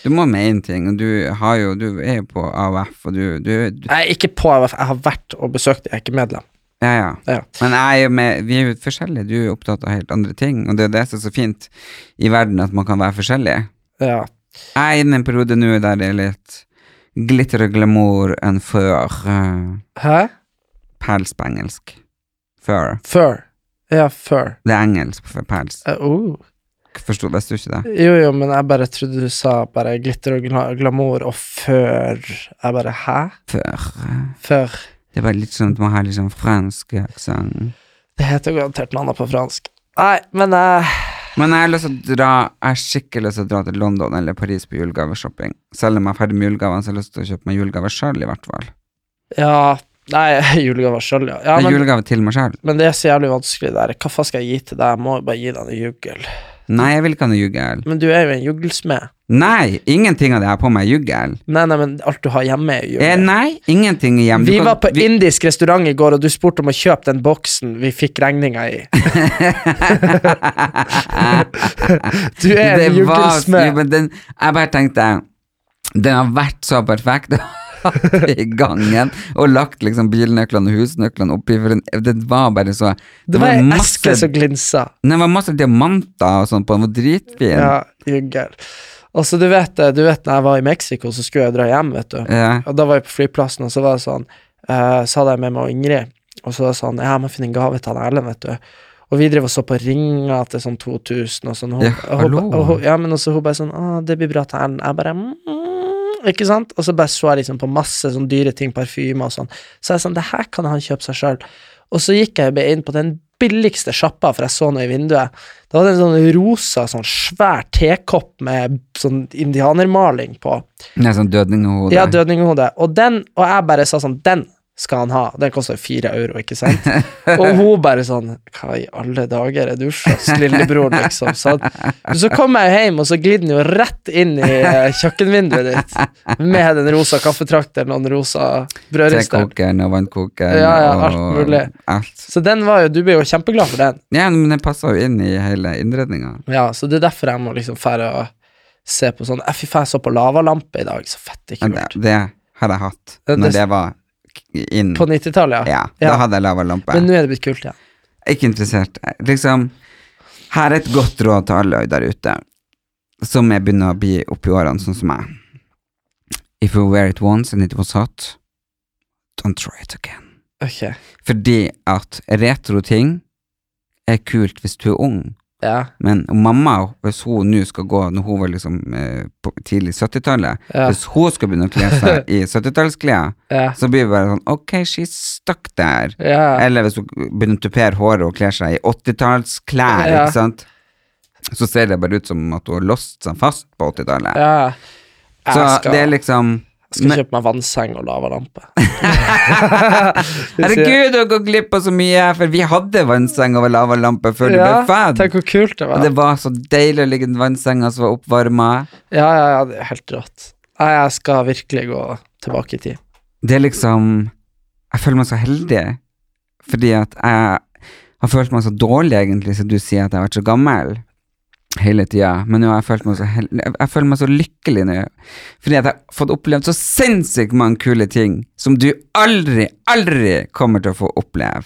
Du må mene ting, og du, har jo, du er jo på AUF, og du, du, du Jeg er ikke på AUF, jeg har vært og besøkt, jeg er ikke medlem. Ja, ja. Ja. Men jeg er jo med, vi er jo forskjellige. Du er jo opptatt av helt andre ting, og det er jo det som er så fint i verden, at man kan være forskjellig. Ja. Jeg er inne i en periode nå der det er litt glitter og glamour enn før. eh, Hæ? pels på engelsk. Før. Før. Ja, før. Det er engelsk for pels. Eh, oh. Forstod, visste du ikke det? Jo, jo, men jeg bare trodde du sa bare glitter og gla glamour, og før Jeg bare hæ? Før. Før Det er bare litt sånn at man har litt sånn fransk aksent. Det heter jo garantert noe annet på fransk. Nei, men eh, Men jeg har lyst til å dra Jeg har skikkelig lyst til å dra til London eller Paris på julegaveshopping. Selv om jeg er ferdig med julegavene, så har jeg lyst til å kjøpe meg julegave sjøl, i hvert fall. Ja, nei, <laughs> julegaver sjøl, ja. Det ja er men, julegave til meg sjøl. men det er så jævlig vanskelig der. Hva faen skal jeg gi til deg? Jeg må jo bare gi deg en juggel. Nei, jeg vil ikke ha noe juggel. Men du er jo en juggelsmed. Nei, ingenting av det jeg har på meg er juggel. Nei, nei, men alt du har hjemme, er jo Eh, juggel. nei, ingenting hjemme. Vi var på indisk restaurant i går, og du spurte om å kjøpe den boksen vi fikk regninga i. <laughs> du er en Det var jo, juggelsmed. men den, jeg bare tenkte Den har vært så perfekt <laughs> i gangen og lagt liksom bilnøklene og husnøklene oppi, for den, den var bare så Det var ei eske som glinsa. Nei, det var masse diamanter og sånn på den, den var dritfin. Ja, juggel. Og så du vet, eh, du vet når jeg var i Mexico, så skulle jeg dra hjem, vet du. Ja. Og da var jeg på flyplassen, og så var det sånn eh, Så hadde jeg med meg og Ingrid, og så var det sånn Ja, jeg må finne en gave til han Erlend, vet du. Og vi drev og så på ringer til sånn 2000 og sånn. og Hun, Ja, og hun, hallo. og hun, ja, men også hun bare sånn Å, det blir bra til Erlend. Jeg bare mm, Ikke sant? Og så bare så jeg liksom på masse sånn dyre ting, parfymer og sånn. Så jeg sånn Det her kan han kjøpe seg sjøl. Og så gikk jeg bare inn på den billigste sjappa, for jeg så noe i vinduet. Da var det en sånn rosa, sånn svær tekopp med sånn indianermaling på. Nei, sånn dødninghode. Ja, dødninghode. Og den, og jeg bare sa sånn, den skal han ha. Den koster fire euro, ikke sant? Og hun bare sånn, hva i alle dager er du slags lillebror, liksom? Så, så kom jeg hjem, og så glidde den jo rett inn i eh, kjøkkenvinduet ditt, med den rosa kaffetrakteren og den rosa brødristeren. Tekokeren og vannkokeren Ja, ja, alt og mulig. alt. Så den var jo, du ble jo kjempeglad for den. Ja, men den passa jo inn i hele innredninga. Ja, så det er derfor jeg må liksom fære og se på sånn, eh, fy faen, jeg så på lavalampe i dag, så fett ikke Ja, det, kult. det har jeg hatt Ja, det- når det var k- inn. På 90-tallet, ja, ja. da hadde jeg lava lampe. Men nå er det blitt kult, ja. Ikke interessert. Liksom, her er et godt råd til alle der ute som er begynner å bli oppi årene, sånn som meg. If you wear it once and it was hot, don't try it again. Ok, Fordi at retro ting er kult hvis du er ung. ja, Men mamma, hvis hun nå skal gå når hun var liksom eh, på tidlig 70-tallet Ja. Hvis hun skal begynne å kle seg i 70-tallsklær, ja. så blir det bare sånn Ok, she's stuck there. Ja, Eller hvis hun begynner å tupere håret og kler seg i 80-tallsklær, Ja. ikke sant, så ser det bare ut som at hun har låst seg fast på 80-tallet. ja. Så Jeg skal, det er liksom jeg skal Men- kjøpe meg vannseng og lavalampe. Herregud, du har gått glipp av så mye, for vi hadde vannseng over lavalampe før du ble født. Tenk hvor kult det Og var. det var så deilig å ligge i den vannsenga som var oppvarma. Ja, ja, ja, det er helt rått. Nei, jeg skal virkelig gå tilbake i tid. det er liksom Jeg føler meg så heldig, fordi at jeg har følt meg så dårlig, egentlig, siden du sier at jeg har vært så gammel hele tida. Men nå har jeg følt meg så heldig Jeg jeg føler meg så lykkelig nå, fordi at jeg har fått opplevd så sinnssykt mange kule ting som du aldri, aldri kommer til å få oppleve.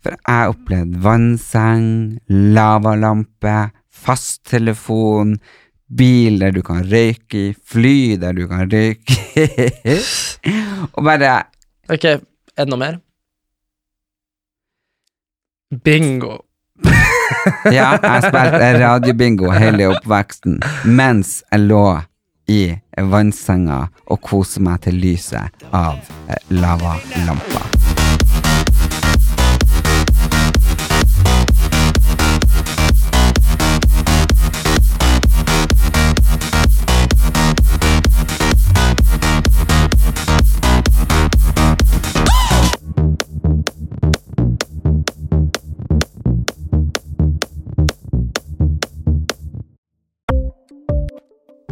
For jeg har opplevd vannseng, lavalampe, fasttelefon, bil der du kan røyke i, fly der du kan røyke i. <laughs> Og bare Ok, er det noe mer? Bingo. Ja, jeg spilte radiobingo hele oppveksten mens jeg lå i vannsenga og koste meg til lyset av eh, lavalampa.